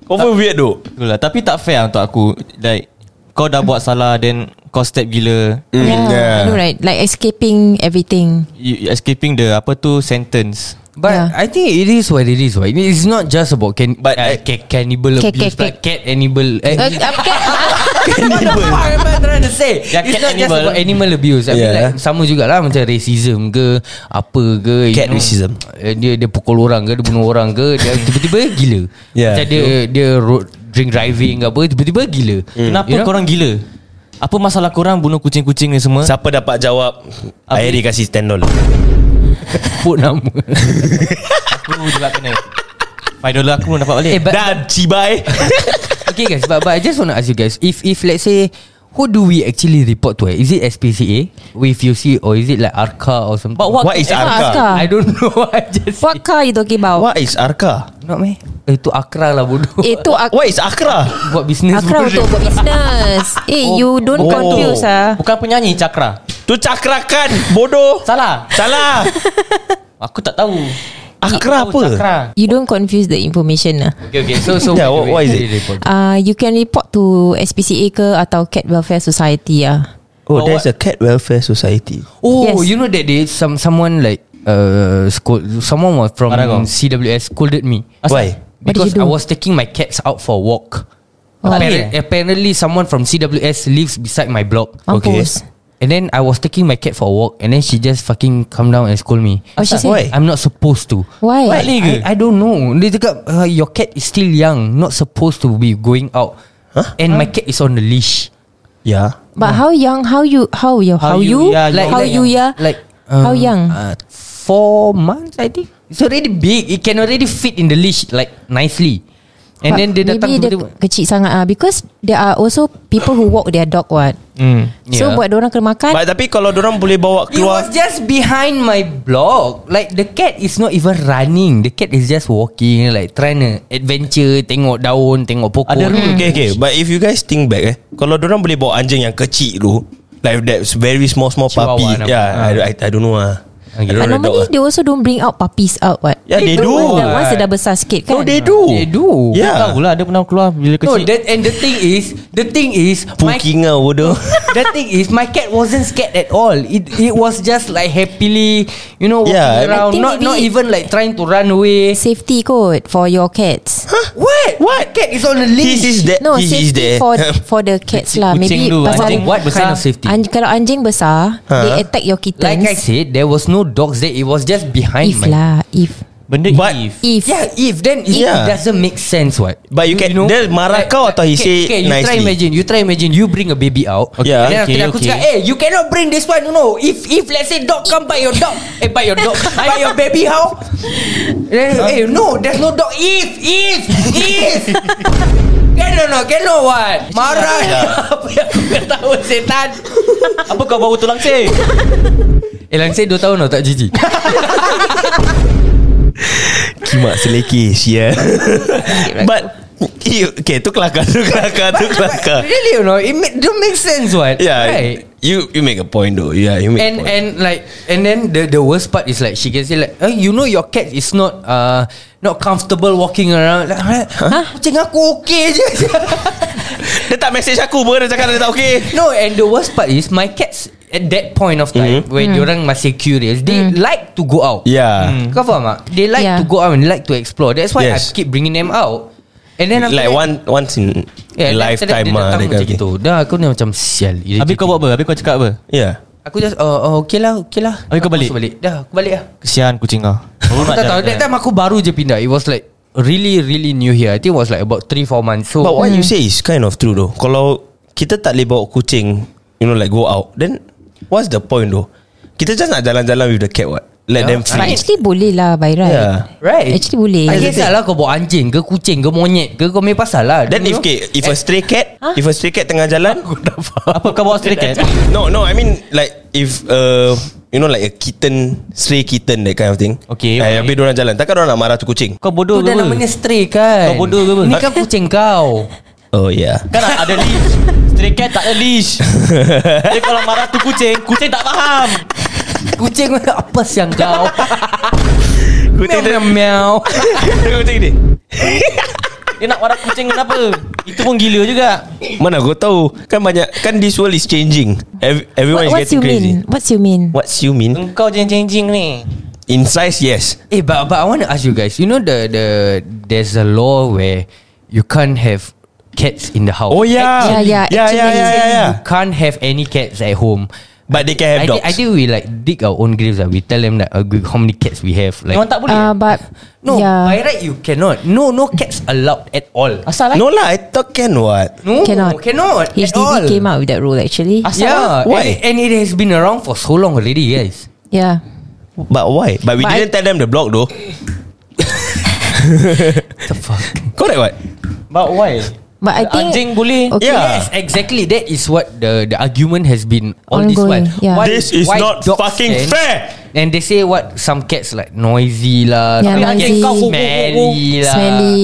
S4: Confirm weird tu.
S3: Itulah lah, Tapi tak fair untuk aku Like Kau dah buat salah Then Kau step gila
S4: Hmm.
S5: yeah.
S4: ya.
S5: yeah. Ya. I know right Like escaping everything
S3: you, you escaping the Apa tu Sentence
S2: But
S5: Yeah.
S2: I think it is what it is. Right? It's not just about can
S4: But
S2: uh,
S4: I-
S2: ca- cannibal
S5: Ca-
S2: abuse,
S5: ca-
S2: but cat animal. Eh,
S5: uh, okay.
S2: what the fuck am I trying to [LAUGHS] say?
S3: Yeah,
S2: It's
S3: cat
S2: not just
S3: animal.
S2: about animal abuse. I mean like
S4: Yeah.
S2: sama jugalah macam racism ke apa ke. you
S4: Cat
S2: know.
S4: racism.
S2: Eh, Dia dia pukul orang ke, dia bunuh orang ke,
S4: [LAUGHS]
S2: dia tiba-tiba gila.
S4: Yeah. Hmm.
S2: Macam dia dia road drink driving ke apa, tiba-tiba gila.
S3: Kenapa
S2: [LAUGHS] You know?
S3: korang gila Apa masalah korang Bunuh kucing-kucing ni semua
S4: Siapa dapat jawab?
S3: Apa?
S4: ID kasih 10 dolar.
S2: sebut nama?
S3: Aku juga kena 5 dolar aku belum dapat balik
S2: eh, but,
S4: Dan cibai.
S2: [LAUGHS] okay guys, but, but I just want to ask you guys, if if let's say Who do we actually report to? eh? Is it SPCA with UC or is it like ARCA or something?
S3: But what-
S4: What is
S3: Eh,
S5: Arka.
S4: Arka?
S2: I don't know. [LAUGHS] I just
S5: What car you talking about
S4: [LAUGHS] What is Arka?
S2: not me. Itu Akra lah bodoh.
S5: Itu ak-
S4: What is Akra?
S2: [LAUGHS] buat bisnes
S5: Akra
S2: bodoh.
S5: untuk buat business Eh
S3: Oh,
S5: you
S4: oh.
S5: don't confuse ah.
S3: Bukan penyanyi Cakra
S4: Tu cakrakan bodoh.
S3: Salah
S4: Salah.
S3: Aku tak tahu
S4: Akra
S3: Aku
S4: apa?
S3: tahu Cakra
S5: You don't confuse the information lah
S2: Okay, okay. So, so
S4: [LAUGHS] Yeah, what- what is it?
S5: Uh, you can report to SPCA ke atau Cat Welfare Society ah.
S4: Oh,
S3: Or
S4: there's
S3: what?
S4: a cat welfare society.
S2: Oh,
S5: Yes.
S2: you know that day some someone like uh scold someone was from
S3: Aragong.
S2: CWS scolded me
S3: Asal?
S4: Why?
S5: What did
S2: because
S5: you do?
S2: I was taking my cats out for a walk.
S5: Oh.
S2: Apparently, apparently, someone from CWS lives beside my block.
S5: Mampus.
S2: And then I was taking my cat for a walk, and then she just fucking come down and scold me.
S5: What she
S2: Asal?
S5: say?
S4: Why?
S2: I'm not supposed to.
S5: Why?
S2: Like,
S3: Ni ke?
S2: I, I don't know. Dia cakap uh, your cat is still young, not supposed to be going out.
S4: Huh?
S2: And my cat is on the leash.
S4: Yeah.
S5: But how young? How you? How you? How, you?
S2: yeah,
S5: like, how you? Yeah.
S2: Like
S5: How young?
S2: Uh, four months I think. It's already big. It can already fit in the leash like nicely. And
S5: But
S2: then dia datang
S5: maybe dia
S2: tiba-tiba.
S5: kecil sangat ah because there are also people who walk their dog what.
S3: Hmm.
S2: Yeah.
S5: So buat orang kena makan.
S4: But, tapi kalau orang boleh bawa
S2: It
S4: keluar
S2: was just behind my block. Like the cat is not even running. The cat is just walking like trying to adventure, tengok daun, tengok pokok. Hmm.
S4: Ada rule Okay okay But if you guys think back eh Kalau orang boleh bawa anjing yang kecil tu Like that very small small
S2: Chihuahua
S4: puppy
S2: nampak.
S4: Yeah I, I, I don't know lah I
S2: Okay.
S4: don't
S5: But
S4: know the dog
S5: normally
S4: lah
S5: they also don't bring out puppies out what.
S4: Yeah, they
S5: Once
S4: do.
S5: dah- Once dia dah besar sikit
S4: No
S5: kan.
S4: ah. they do
S2: Oh, They do.
S4: Yeah
S3: Yeah. Tahu lah dia pernah keluar
S2: No,
S3: bila kecil.
S2: that, and the thing is, the thing is, my
S4: Pukinga ah, bodoh
S2: the thing is, my cat wasn't scared at all. It it was just like happily, you know, walking
S4: Yeah, I
S2: around,
S5: think
S2: not
S5: maybe-
S2: not even like trying to run away.
S5: Safety code for your cats.
S2: What? What? Cat is on a
S4: This
S2: leash.
S4: is that
S5: No,
S4: This is that
S5: safety
S4: [LAUGHS]
S5: for for the cats lah.
S3: Kucing
S5: Maybe
S3: tu,
S5: pasal
S3: anjing
S2: What
S3: besar.
S2: kind of safety?
S5: Anj- kalau anjing besar,
S4: Ha.
S5: they attack your kittens.
S2: like I said, there was no dogs there. It was just behind
S5: if
S2: my.
S5: lah, if.
S3: Benda
S4: But-
S3: if.
S5: If.
S2: Yeah, if then it
S4: Yeah.
S2: doesn't make sense, what?
S4: But you can- dia marah kau atau he say
S2: okay, you try
S4: nicely?
S2: imagine, you try imagine, you bring a baby out.
S4: Okay,
S2: and then after
S3: okay,
S2: that aku
S3: okay.
S2: cakap, eh, you cannot bring this one, you know. If if let's say dog come by your dog, [LAUGHS] eh by your
S4: [LAUGHS]
S2: dog, by your baby how? Then, eh, no, there's no dog. If if if.
S4: [LAUGHS]
S2: Cannot no, cannot what? Marah. [LAUGHS] Apa yang aku tahu setan?
S3: Apa kau bawa tulang sih?
S2: Eh, langsir 2 tahun tau tak [LAUGHS] jijik.
S4: Kimak selekis
S2: [LAUGHS]
S4: Yeah But you, Okay tu kelakar Tu kelakar Tu kelakar
S2: Really, you know, it make, don't make sense what?
S4: Yeah
S2: Right?
S4: You you make a point though Yeah you make
S2: and
S4: a point
S2: and like and then the the worst part is like she can say like eh, you know your cat is not uh not comfortable walking around like huh? kucing aku okay je [LAUGHS]
S4: Dia tak message aku pun Dia cakap dia tak okay
S2: no and the worst part is my cats at that point of time
S4: Mhm.
S2: when orang masih curious they like to go out
S4: Yeah
S2: kau faham tak they like
S5: Yeah.
S2: to go out and like to explore that's why I
S4: Yes.
S2: keep bringing them out and then after
S4: Like
S2: that-
S4: one once in
S2: Yeah,
S4: a
S2: then after that
S4: lifetime
S2: dia
S4: lah
S2: datang
S4: dia
S2: macam
S4: kata.
S2: gitu dah aku ni macam sial
S3: Habis kau buat apa? Habis kau cakap apa?
S4: Yeah
S2: aku just oh, oh okay lah okay lah
S3: Habis kau
S2: Aku
S3: balik?
S2: masuk balik dah aku balik lah
S3: Kesian kucing kau. Baru
S2: Aku
S3: nak
S2: tak tahu
S3: jalan.
S2: That time aku baru je pindah It was like Really really new here I think it was like about 3-4 months So
S4: But what you say is kind of true though. Kalau kita tak boleh bawa kucing, you know like go out, then what's the point though? Kita just nak jalan-jalan with the cat what? Let
S2: Yeah.
S4: them
S5: But
S4: free.
S5: actually boleh lah by right.
S4: Yeah.
S2: Right
S5: Actually boleh.
S2: Tak kisah lah kau bawa anjing ke kucing ke monyet ke Kau punya pasal lah
S4: Then if okay, if a stray cat, if a stray cat tengah jalan,
S3: Apa kau bawa stray cat?
S4: [LAUGHS] no no, I mean like if uh, you know like a kitten, stray kitten that kind of thing.
S3: Okay,
S4: Eh,
S3: okay.
S4: habis orang jalan. Takkan orang nak marah tu kucing.
S3: Kau
S2: Tu
S3: bodoh
S2: dah
S3: ke apa?
S2: namanya stray kan
S3: Kau bodoh ke apa?
S2: Ni kan kucing kau
S4: Oh yeah.
S3: Kan ada leash Stray cat tak ada leash Jadi kalau marah tu kucing Kucing tak faham
S2: Kucing [LAUGHS] kau apa siang kau Kucing
S4: Kucing dia
S2: meow meow
S4: [LAUGHS] kucing ni.
S3: Dia nak marah kucing kenapa Itu pun gila juga
S4: Mana aku tahu Kan banyak Kan this world is changing Ev- Everyone
S5: What,
S4: is
S5: what's you
S4: getting crazy
S5: mean? What's you mean?
S4: What's you mean
S3: Engkau jeng-jeng ni
S4: In size yes
S2: Eh but, but I want to ask you guys You know the the There's a law where You can't have Cats in the house
S4: Oh yeah.
S5: Actually-
S2: ya,
S5: Yeah,
S4: yeah, yeah,
S5: yeah,
S4: yeah,
S5: actually.
S4: yeah, yeah.
S2: You can't have any cats at home
S4: But they can have
S2: I
S4: dogs.
S2: think, I think we like dig our own graves. Like, we tell them that uh, how many cats we have. Like
S3: Memang tak boleh
S5: Uh, but
S2: no, by
S5: yeah.
S2: right you cannot. No, no cats allowed at all.
S3: Asal lah
S4: no lah, I thought can what?
S2: No, Oh,
S5: cannot.
S2: cannot at all.
S5: HDB came out with that rule actually.
S3: Asal
S2: Yeah,
S4: lah. Why?
S2: And, and it has been around for so long already, guys.
S5: Yeah.
S4: But why? But we
S5: But
S4: didn't tell them the block though.
S2: [LAUGHS] The fuck.
S4: Correct what?
S3: But why
S5: But I think
S3: Anjing boleh
S5: Okay.
S4: Yeah.
S2: Yes, exactly. That is what the the argument has been all
S5: Ongoing,
S2: this while.
S5: yeah.
S2: Why-
S4: This is
S2: why
S4: not
S2: dogs
S4: fucking
S2: can-
S4: fair.
S2: And they say what some cats like noisy lah,
S5: Yeah,
S2: some cats
S5: noisy.
S2: smelly lah.
S5: Smelly.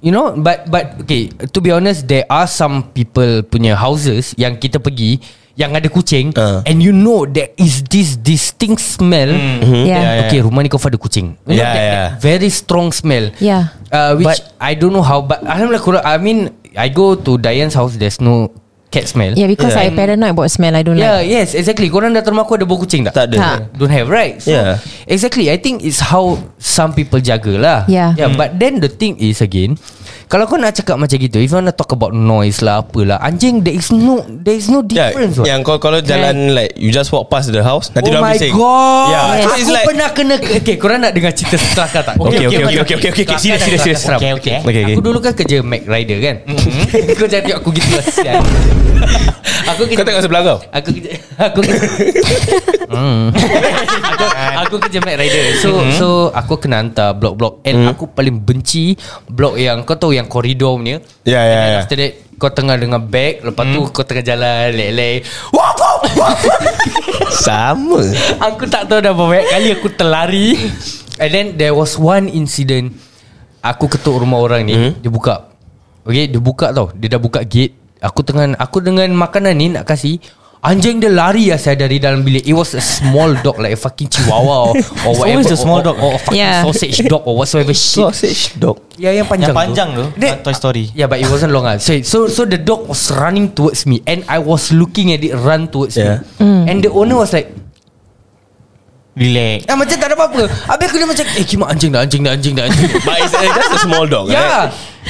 S2: You know But but Okay To be honest There are some people Punya houses Yang kita pergi Yang ada kucing
S4: Ah.
S2: And you know There is this Distinct smell
S5: Yeah.
S2: yeah, Okay rumah ni kau ada kucing you know,
S4: Yeah,
S2: that,
S4: yeah.
S2: that Very strong smell
S5: Yeah.
S2: uh, Which
S4: But-
S2: I don't know how But Alhamdulillah kurang- I mean I go to Diane's house There's no Cat smell
S5: Yeah, because
S4: Yeah.
S5: I paranoid about smell. I don't
S2: Yeah,
S5: like.
S2: yes, exactly. Korang datang rumah aku ada bau kucing tak?
S4: Tak ada.
S5: Tak.
S2: Don't have, right? So,
S4: Yeah.
S2: Exactly. I think it's how some people jaga lah.
S5: Yeah.
S2: yeah But then the thing is again, kalau kau nak cakap macam gitu, if you want to talk about noise lah, apalah, anjing, there is no, there is no
S4: Yeah,
S2: difference. what.
S4: yang kau kalau jalan like you just walk past the house, nanti
S2: Oh
S4: dia
S2: my
S4: bising.
S2: god
S4: Yeah, so
S2: Aku
S4: it's like
S2: pernah kena Okay korang nak dengar cerita setelahkah tak
S4: Okay, okay, okay, okay, okay, okay, okay. Serious, serious, serious.
S2: Okay okay
S4: Okay, Mm-hmm. okay.
S2: [LAUGHS] Aku dulu kan kerja Mac Rider kan Kau jangan tengok aku gitu lah, sial. Aku
S4: Kau tengok sebelah kau Mm.
S2: Aku kerja Aku kerja aku, aku kerja Mac Rider So mm-hmm. so aku kena hantar blok-blok And mm. aku paling benci Blok yang Kau tahu yang koridor punya
S4: Ya ya
S2: And
S4: ya
S2: After that Kau tengah dengan bag Lepas tu
S4: Mm.
S2: kau tengah jalan Leleh Wah
S4: Sama
S2: Aku tak tahu dah berapa banyak kali aku terlari And then there was one incident Aku ketuk rumah orang ni
S3: Hmm?
S2: mm-hmm. Dia buka Okay dia buka tau Dia dah buka gate Aku dengan Aku dengan makanan ni nak kasih Anjing dia lari lah saya dari dalam bilik It was a small dog Like a fucking
S3: [LAUGHS]
S2: chihuahua Or, or
S3: It's
S2: whatever
S3: always a small
S2: or,
S3: dog.
S2: Or, or fucking yeah.
S5: Yeah.
S2: sausage dog Or whatsoever
S3: [LAUGHS]
S2: shit
S4: Sausage dog
S2: Ya yang panjang
S3: Yang panjang tu
S2: Dia-
S3: Toy Story
S2: Yeah but it wasn't long ah. So, so so the dog was running towards me And I was looking at it run towards
S4: Yeah.
S2: me And the owner was like
S3: Relax
S2: Ah, macam tak ada apa-apa Habis aku dia macam Eh kimak anjing dah Anjing dah anjing dah [LAUGHS] anjing dah.
S4: But it's uh, just a small
S2: [LAUGHS]
S4: dog right?
S2: yeah.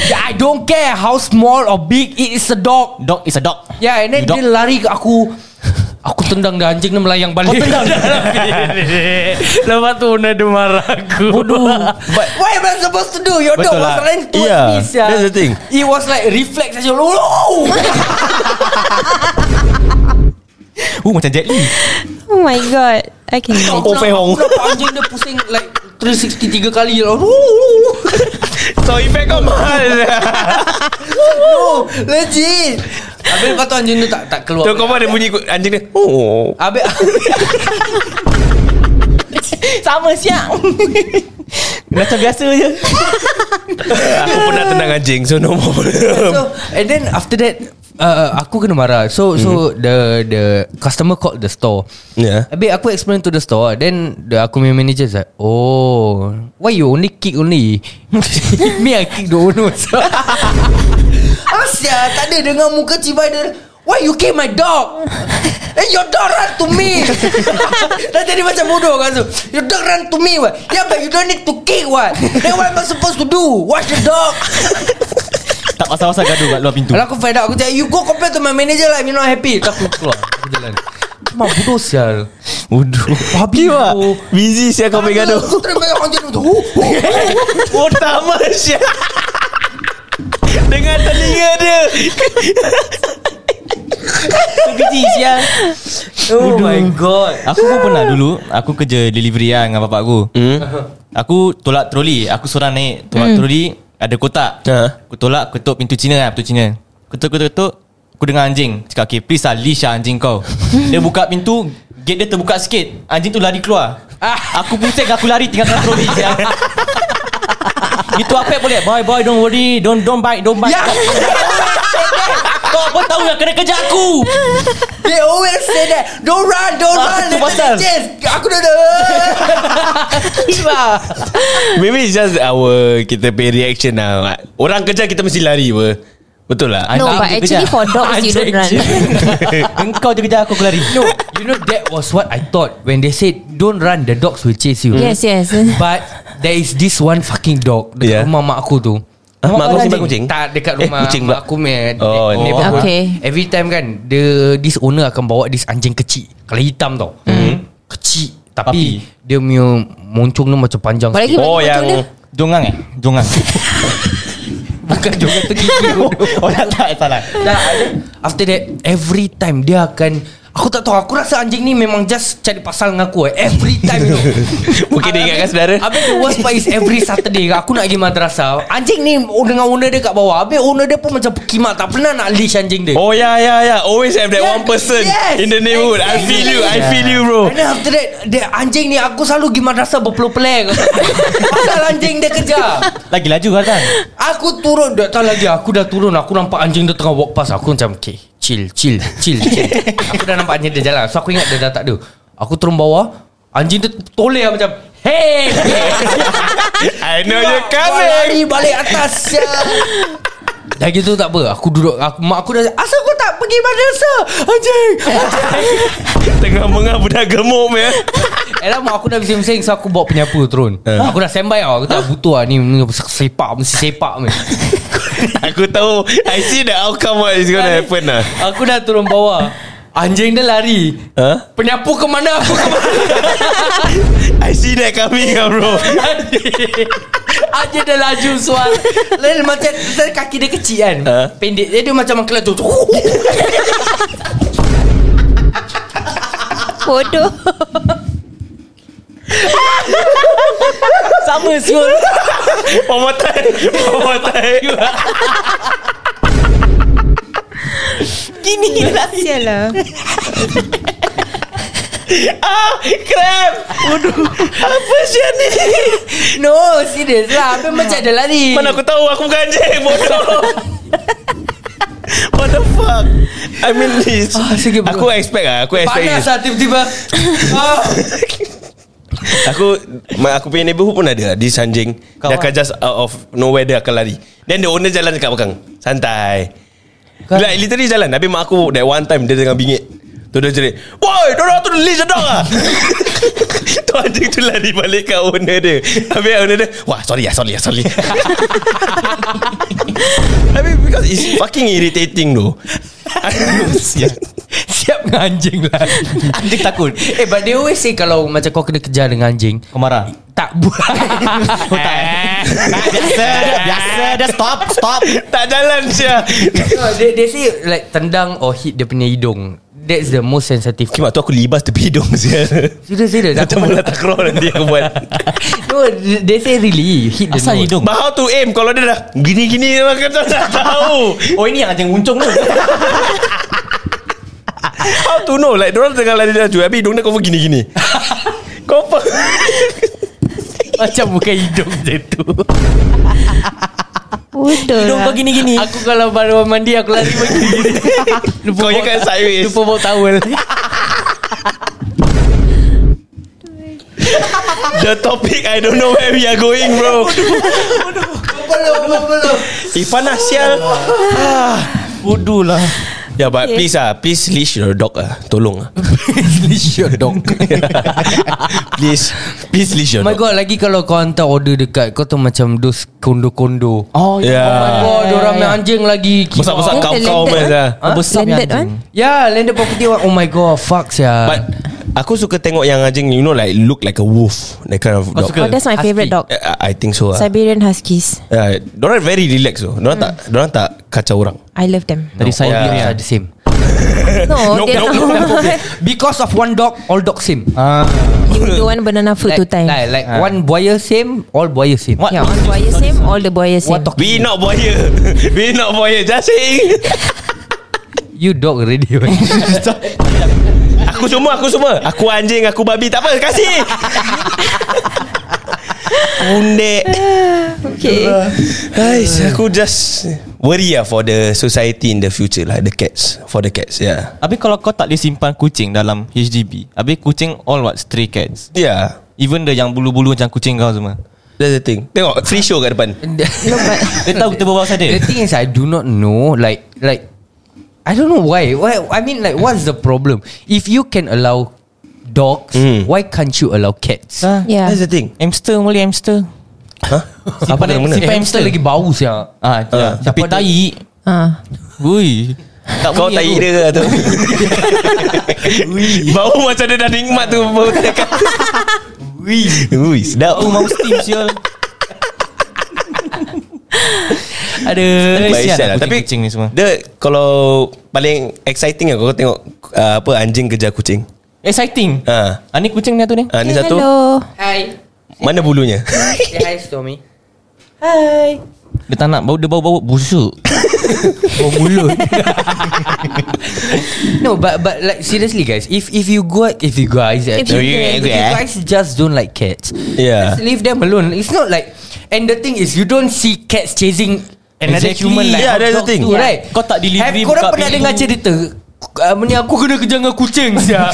S2: yeah I don't care How small or big It is a dog
S3: Dog is a dog
S2: Yeah and then
S3: You dog.
S2: dia lari ke aku Aku tendang dah anjing dia melayang balik Kau Oh, [LAUGHS] tendang Lepas tu Una dia marah aku Bodoh But What am I supposed to do Your
S3: Betul
S2: dog was
S3: lah.
S2: running towards
S4: Yeah,
S2: me sia.
S4: that's the thing.
S2: It was like reflex aja [LAUGHS] Oh
S3: Uh macam Jet Li
S5: Oh my god. I can
S4: Oh, Fei Hong.
S2: Kenapa anjing dia pusing like 363 kali Oh [LAUGHS]
S4: So effect kau [LAUGHS] mahal
S2: No Legit Habis kau tahu anjing tu tak, tak keluar
S4: Tu kau pun ada bunyi ikut anjing dia Oh
S2: Habis [LAUGHS]
S5: Sama siap.
S3: Macam biasa je
S4: Aku pernah tendang anjing So no more [LAUGHS]
S2: So And then after that uh, Aku kena marah So so the the Customer called the store
S4: Yeah.
S2: Habis aku explain to the store Then the, Aku punya manager is like Oh Why you only kick only [LAUGHS] Me I kick the owner Asya Tak ada dengan muka cibai dia Why you kick my dog Eh your dog run to me [LAUGHS] Dah jadi macam bodoh kan so, Your dog run to me what Yeah but you don't need to kick what Then what am I supposed to do Watch the dog [LAUGHS]
S3: Tak pasal-pasal gaduh kat luar pintu
S2: Kalau aku fed up Aku cakap You go complain to my manager lah If you not happy Tak aku keluar Aku jalan Mak bodoh sial
S4: Bodoh
S2: Babi
S4: Wah,
S2: tu
S4: Busy
S2: Oh
S4: siapa kau pergi gaduh
S2: Aku terima yang anjing tu Huh, huh.
S4: [LAUGHS] Utama Syah Dengan telinga dia
S2: Keji sial Oh my god
S3: Aku pun pernah dulu Aku kerja delivery lah Dengan bapak aku hmm? Aku tolak troli Aku seorang naik Tolak hmm. troli Ada kotak
S2: Ya.
S4: Ha.
S3: Aku tolak Ketuk pintu Cina lah Pintu Cina Ketuk-ketuk-ketuk Aku dengar anjing Cakap okay Please lah leash lah anjing
S2: [LAUGHS]
S3: kau Dia buka pintu Gate dia terbuka sikit Anjing tu lari keluar
S2: Ah.
S3: Aku pusing Aku lari tinggalkan troli
S2: [LAUGHS]
S3: sial. Itu apa boleh Boy boy don't worry Don't don't bite Don't bite
S2: Yeah
S3: Kau pun tahu yang kena kejar
S2: [LAUGHS]
S3: aku
S2: They always say that Don't run Don't run
S3: Ah, tu
S2: Let
S3: pasal.
S2: me chase Aku dah Gila
S4: Maybe it's just our Kita pay reaction lah Orang kerja kita mesti lari apa Betul lah
S5: No,
S3: Anjing
S5: but
S3: dia
S5: actually
S3: kejar.
S5: for dogs you don't run.
S3: [LAUGHS] Engkau je kejar aku aku lari
S2: No You know that was what I thought When they said Don't run The dogs will chase you
S5: [LAUGHS] Yes, yes.
S2: But There is this one fucking dog Dekat
S4: Yeah.
S2: yeah. rumah mak aku tu
S4: Ah, mak
S2: kau
S4: kau
S2: ada
S4: simpan
S2: anjing?
S4: kucing?
S2: Tak dekat
S4: Eh,
S2: rumah
S4: kucing
S2: kucing
S4: pula.
S2: mak aku punya
S4: Oh,
S2: neighbour aku.
S5: Okay.
S2: Every time kan the, This owner akan bawa This anjing kecil Kalau hitam tau
S4: Hmm.
S2: mm. Kecil Tapi Dia punya Moncong dia macam panjang
S5: Boleh
S2: sikit.
S5: lagi
S4: Oh
S5: macam
S4: yang
S5: mana?
S3: Jongang eh Jongang
S2: [LAUGHS] Bukan joget tu gigi
S3: [LAUGHS] Oh tak tak salah
S2: Dah, After that Every time dia akan Aku tak tahu Aku rasa anjing ni memang just Cari pasal dengan aku eh. Every time tu
S4: [LAUGHS] Mungkin dia ingatkan saudara.
S2: Habis the worst part is Every Saturday Aku nak pergi madrasah Anjing ni oh, Dengan owner dia kat bawah Habis owner dia pun macam Kimak tak pernah nak leash anjing dia
S4: Oh yeah yeah yeah Always have that
S2: Yeah,
S4: one person
S2: yes,
S4: In the neighborhood I
S2: exactly.
S4: feel you I feel you bro
S2: And then after that dia, Anjing ni Aku selalu pergi madrasah berpeluh-peluh Pasal anjing dia kejar
S3: Lagi laju kadang
S2: Aku turun Tak tahu lagi Aku dah turun Aku nampak anjing dia tengah walk past Aku macam Okay Chill Chill Chill,
S3: [LAUGHS]
S2: chill. Aku dah nampak anjing dia jalan So aku ingat dia dah tak ada Aku turun bawah Anjing dia toleh lah macam Hey
S4: I know you're
S2: Kau
S4: coming
S2: lari balik atas [LAUGHS] ya. Dah gitu tak apa Aku duduk aku, Mak aku dah Asal kau tak pergi madrasah Anjing [LAUGHS]
S4: Tengah-tengah budak gemuk ya
S2: Eh lah mak aku dah bising-bising So aku bawa penyapu turun
S4: Eh.
S2: Aku dah standby tau Aku tak butuh lah ni ni Sepak Mesti sepak ni.
S4: [LAUGHS] Aku tahu I see the outcome What is gonna happen lah
S2: Aku dah turun bawah Anjing dia lari
S4: Huh?
S2: Penyapu ke mana Aku ke mana
S4: I see that coming ah, bro
S2: [LAUGHS] Anjing dia laju suar Lain macam Lain kaki dia kecil kan
S4: Ha?
S2: Pendek Dia, dia macam kelaju
S5: Bodoh
S2: [LAUGHS] Sama semua
S4: One more time One more time
S5: Gini lah Sial lah
S2: Crap
S4: Ah, Apa Sian ni
S2: No serious lah Apa macam ada lari
S4: Mana aku tahu Aku bukan anjing [LAUGHS] Bodoh What the fuck I mean this
S2: Ah, sikit bodoh.
S4: Aku expect lah Aku expect
S2: Panas
S4: this
S2: lah tiba-tiba
S4: [LAUGHS]
S2: ah.
S4: Aku ma- Aku punya neighborhood pun ada lah, This anjing
S3: Kawan.
S4: Dia akan just out of nowhere Dia akan lari Then the owner jalan dekat belakang Santai
S2: Kan?
S4: Like literally jalan Habis mak aku That one time Dia tengah bingit Tu dia jerit Woi Diorang tu leash the dog lah [LAUGHS] Tu anjing tu lari balik Kat owner dia Habis owner dia Wah sorry lah Sorry lah sorry [LAUGHS] Habis because It's fucking irritating though [LAUGHS] Siap
S3: Siap dengan anjing lah Anjing takut
S2: Eh but they always say Kalau macam kau kena kejar dengan anjing
S3: Kau marah
S2: Tak buat
S3: Kau Eh, tak
S4: [LAUGHS]
S3: Biasa dia- Biasa dia Stop Stop
S4: Tak jalan siap
S2: no, they, they say like Tendang or hit dia punya hidung That's the most sensitive
S4: Okay, waktu aku libas tepi hidung siap
S2: Serius serius Aku
S4: Macam bola takraw nanti aku buat
S2: No they say really you Hit the
S3: Asal
S2: nose.
S3: hidung
S4: But how to aim Kalau dia dah Gini-gini Aku tak tak tahu
S3: Oh ini yang anjing muncung tu
S4: How to know Like diorang tengah lari laju Habis hidung dia kau gini-gini Kau apa
S2: Macam bukan hidung je tu
S5: Bodoh
S2: Hidung
S5: lah
S2: kau gini-gini Aku kalau baru mandi Aku lari pergi gini Lupa
S4: Kau
S2: bawa-
S4: ingatkan sideways
S2: Lupa bawa towel
S4: The topic I don't know where we are going bro Eh panas sial
S3: Bodoh lah
S4: Yeah but please ah Please leash your dog ah Tolong ah
S2: Leash your dog
S4: Please Please leash your
S2: Oh my
S4: dog
S2: god Lagi kalau kau hantar order dekat Kau tu macam Dos kondo-kondo Oh,
S3: Oh
S4: Yeah
S2: orang main anjing lagi
S4: Ya.
S2: Ha?
S4: Besar-besar
S5: Dia
S4: kau-kau
S5: talented,
S4: man,
S5: ah.
S4: ah.
S3: Huh? Besar punya
S5: Landed
S3: anjing
S5: one
S2: Ya yeah, landed property orang- Oh my god Fuck ya
S4: But Aku suka tengok yang anjing You know like Look like a wolf That kind of dog
S3: suka?
S5: Oh that's my
S2: Husky.
S5: favourite dog
S4: I I think so ah.
S5: Siberian Huskies
S4: Ya, Diorang very relax tu Diorang
S5: Hmm.
S4: tak Diorang tak kacau orang
S5: I love them
S3: Tadi saya
S4: Yeah.
S3: beli
S2: yeah.
S3: ah.
S2: the
S5: [LAUGHS]
S2: same
S5: No
S4: Nope,
S5: they're
S2: [LAUGHS]
S4: nope,
S5: not
S2: Because of one dog All dog same
S3: Ah,
S5: You don't want banana food
S2: Like,
S5: two time
S2: like, like one buaya same All buaya same
S3: What?
S5: Yeah all boy same All the boy same
S2: What talk-
S4: We not boya [LAUGHS] We not boya Just saying
S2: You dog already [LAUGHS]
S4: Aku semua Aku semua Aku anjing Aku babi Tak apa Kasih Undek
S5: Okay
S4: Guys Aku just Worry lah for the society in the future lah The cats For the cats Yeah
S3: Habis kalau kau tak boleh simpan kucing dalam HDB Habis kucing all what stray cats
S4: Yeah
S3: Even the yang bulu-bulu macam kucing kau semua
S4: That's the thing Tengok free show kat depan
S2: No but
S3: Dia tahu kita berbual pasal
S2: The
S3: dia
S2: thing is I do not know like like I don't know why. Why I mean like what's the problem? If you can allow dogs,
S4: Mm.
S2: why can't you allow cats?
S3: Hmm. Ah,
S5: Yeah
S4: That's the thing
S3: Hamster boleh hamster
S4: Huh?
S3: Simpan
S4: Ha? Apa
S3: hamster,
S4: nama
S2: Eh,
S3: simpan hamster
S2: hamster lagi bau sia.
S3: Ah,
S4: Ah.
S3: uh,
S2: Siapa
S3: Tapi
S2: ada-
S3: tai
S5: Ah.
S3: Ui
S4: Eh,
S3: tak
S4: Kau
S3: bunyi
S4: tak
S3: aku.
S4: ira ke tu Bau macam dia dah nikmat tu Bau tekan Ui Ui sedap
S3: Aku Oh, mau steam sial
S2: Ada
S3: Baik,
S4: Baik
S3: sial
S4: sial lah
S3: lah
S4: Tapi
S3: kucing-kucing ni semua.
S4: Dia kalau Paling exciting lah Kau tengok uh, Apa anjing kejar kucing
S3: Exciting
S4: Ha
S3: Ah ni kucing ni tu ni
S4: Ha, ni
S5: Hey,
S4: satu
S5: Hello
S2: Hi.
S4: Mana bulunya
S2: Say hi Stormy.
S5: Hi
S3: Dia tak nak bau Dia bau-bau
S5: [LAUGHS]
S3: busuk
S2: Oh mulut. no, but but like seriously guys, if if you go if you guys
S5: If you
S2: if you guys just don't like cats,
S4: Yeah.
S2: just leave them alone. It's not like and the thing is you don't see cats chasing another
S3: Exactly.
S2: human like
S4: Yeah,
S2: hot
S4: that's the
S2: dogs
S4: thing.
S2: do,
S3: Yeah.
S2: right?
S3: Kau tak delivery,
S2: Have korang
S3: buka
S2: pernah
S3: pintu.
S2: dengar cerita Um, ni aku kena kejar dengan kucing
S3: [LAUGHS]
S2: siap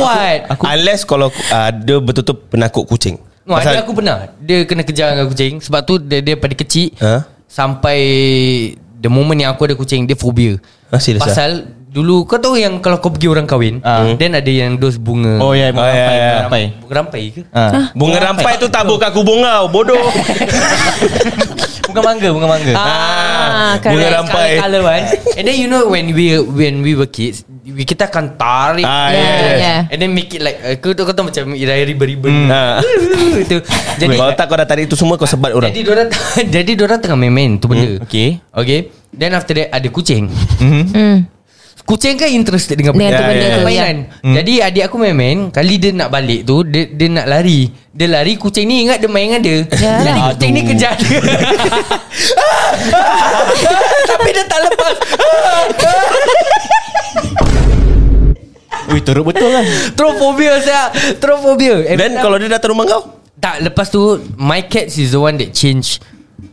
S2: What?
S4: Aku Unless kalau uh, Dia betul-betul penakut kucing
S2: No, adik aku pernah Dia kena kejar dengan kucing Sebab tu dia, dia pada kecil
S4: Ha?
S2: Sampai The moment yang aku ada kucing Dia phobia
S4: Ah, Hmm. serious
S2: Pasal Dulu kau tahu yang Kalau kau pergi orang kahwin
S3: Ah.
S2: Then ada yang dos bunga
S3: Oh ya yeah,
S4: Oh, yeah, yeah.
S3: Rampai
S2: Bunga rampai ke?
S3: Ah.
S4: Bunga rampai tu tak buka aku bunga
S3: [LAUGHS]
S4: Bodoh
S3: Bukan mangga Bukan mangga
S5: Ah,
S4: Bunga
S5: correct.
S4: rampai
S2: Color one And then you know When we when we were kids we, Kita akan tarik
S4: Ah,
S5: Yeah,
S4: yes.
S5: yeah.
S2: And then make it like uh, Kau tahu kau tahu macam Irai riba-riba
S3: Hmm.
S4: Ha.
S2: [LAUGHS] Itu Jadi
S4: Jadi Kalau tak kau dah tarik tu semua Kau sebat orang
S2: Jadi diorang [LAUGHS] Jadi diorang tengah main-main tu benda
S3: okay.
S2: Okay Then after that Ada kucing
S5: Hmm
S2: Kucing kan interested dengan
S5: Dengan
S2: benda
S5: tu
S4: Ya, ya,
S5: benda tu
S4: ya.
S5: ya.
S2: Mainan hmm. Jadi adik aku main-main Kali dia nak balik tu Dia, dia nak lari Dia lari Kucing ni ingat dia main dengan dia
S5: Ya.
S2: Jadi kucing ni
S3: Aduh.
S2: kejar dia Tapi dia tak lepas
S3: Ui teruk betul lah Eh,
S2: Trophobia saya Trophobia And
S4: Dan kalau dia datang rumah kau
S2: Tak lepas tu My cats is the one that change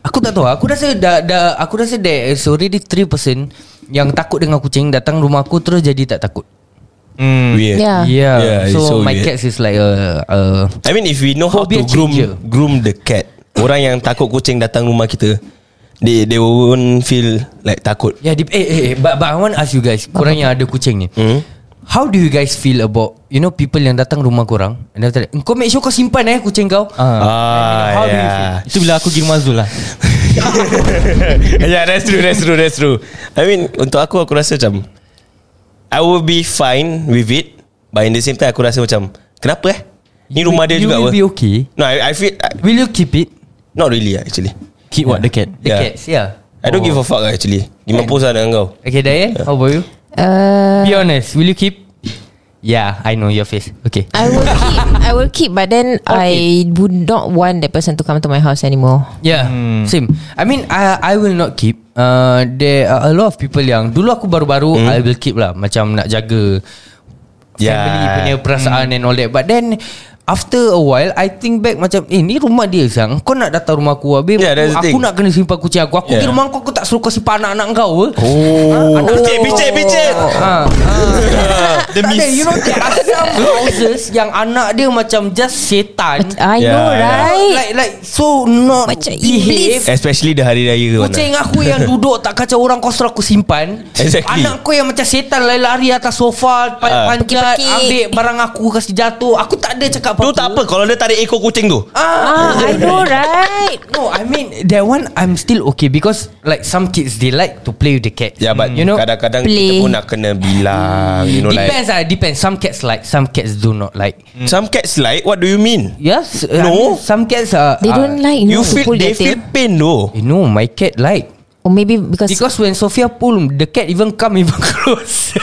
S2: Aku tak tahu Aku rasa dah, dah Aku rasa there is already three person Yang takut dengan kucing Datang rumah aku Terus jadi tak takut
S3: hmm.
S4: Weird
S5: Yeah.
S2: Yeah, yeah.
S4: Yeah, Ya, it's
S2: so,
S4: so
S2: my
S4: weird.
S2: cats is like uh, a, a
S4: I mean if we know how to
S2: Phobia
S4: groom
S2: changer.
S4: groom the cat. Orang yang takut kucing datang rumah kita, they they won't feel like takut.
S2: Yeah, deep, eh, eh, eh, but, but I want ask you guys Korang yang ada kucing ni
S4: Hmm?
S2: How do you guys feel about You know people yang datang rumah korang And after that Kau make sure kau simpan eh kucing kau
S3: Ah.
S4: Ah,
S2: How do you
S4: yeah.
S3: Itu bila aku pergi rumah Zul lah
S4: [LAUGHS] yeah, that's true, that's true, that's true. I mean, untuk aku aku rasa macam I will be fine with it, but in the same time aku rasa macam kenapa eh? Ni rumah dia
S2: you
S4: juga
S2: will
S4: apa?
S2: be okay
S4: No, I, I feel I,
S2: Will you keep it?
S4: not really ah, actually.
S3: Keep what the cat
S2: The
S4: Yeah.
S2: cats, yeah
S4: I don't give a fuck ah, actually. Gimana pun dengan kau.
S2: Okay, Dayan, how about you?
S5: Uh,
S2: Be honest, will you keep? Yeah, I know your face. Okay.
S5: I
S4: [LAUGHS]
S5: will keep I will keep but then I would not want that person to come to my house anymore.
S2: Yeah, same. I mean, I I will not keep. Uh, there are a lot of people yang dulu aku baru-baru I will keep lah, macam nak jaga
S4: Yeah.
S2: family punya perasaan and all that. But then after a while, I think back macam, eh ni rumah dia sang. Kau nak datang rumah aku habis
S4: Yeah, that's
S2: aku,
S4: the
S2: aku
S4: thing.
S2: nak kena simpan kucing aku. Aku
S4: Yeah.
S2: pergi rumah kau, aku tak suruh kau simpan anak-anak kau. Oh.
S4: Oh, picit, picit, picit.
S2: Ha,
S3: The
S2: Tak ada, you know there are [LAUGHS] some houses yang anak dia macam just setan.
S5: I
S4: Yeah,
S5: know
S4: yeah.
S5: right.
S2: Like like so not
S5: Macam
S2: behave.
S5: iblis.
S4: Especially the hari raya tu, Ana.
S2: Kucing aku yang duduk tak kacau orang kau suruh aku simpan.
S4: Exactly.
S2: Anak kau yang macam setan lari-lari atas sofa,
S4: Ah.
S2: pan panjat,
S5: Pekik-pekik.
S2: ambil barang aku kasi jatuh. Aku tak ada cakap apa-apa.
S4: Tu tak apa Kalau dia tarik ekor kucing tu
S2: Ah.
S5: Ah, I know right.
S2: No, I mean that one I'm still okay because like some kids they like to play with the cat.
S4: Ya but
S2: you know
S4: Kadang-kadang
S5: Play.
S4: kita pun nak kena bilang You know like hmm.
S2: depends ah depends. Some cats like, some cats do not like.
S4: Some cats like What do you mean?
S2: Yes, I
S4: No.
S2: mean, some cats are.
S5: They
S2: are-
S5: don't like
S4: Ah,
S5: you,
S4: You
S5: know, to
S4: feel
S5: pull
S4: They
S5: their tail.
S4: feel pain though
S2: You know, Eh, my cat like.
S5: Or maybe because,
S2: Because when Sophia pull The cat even come [LAUGHS] Even close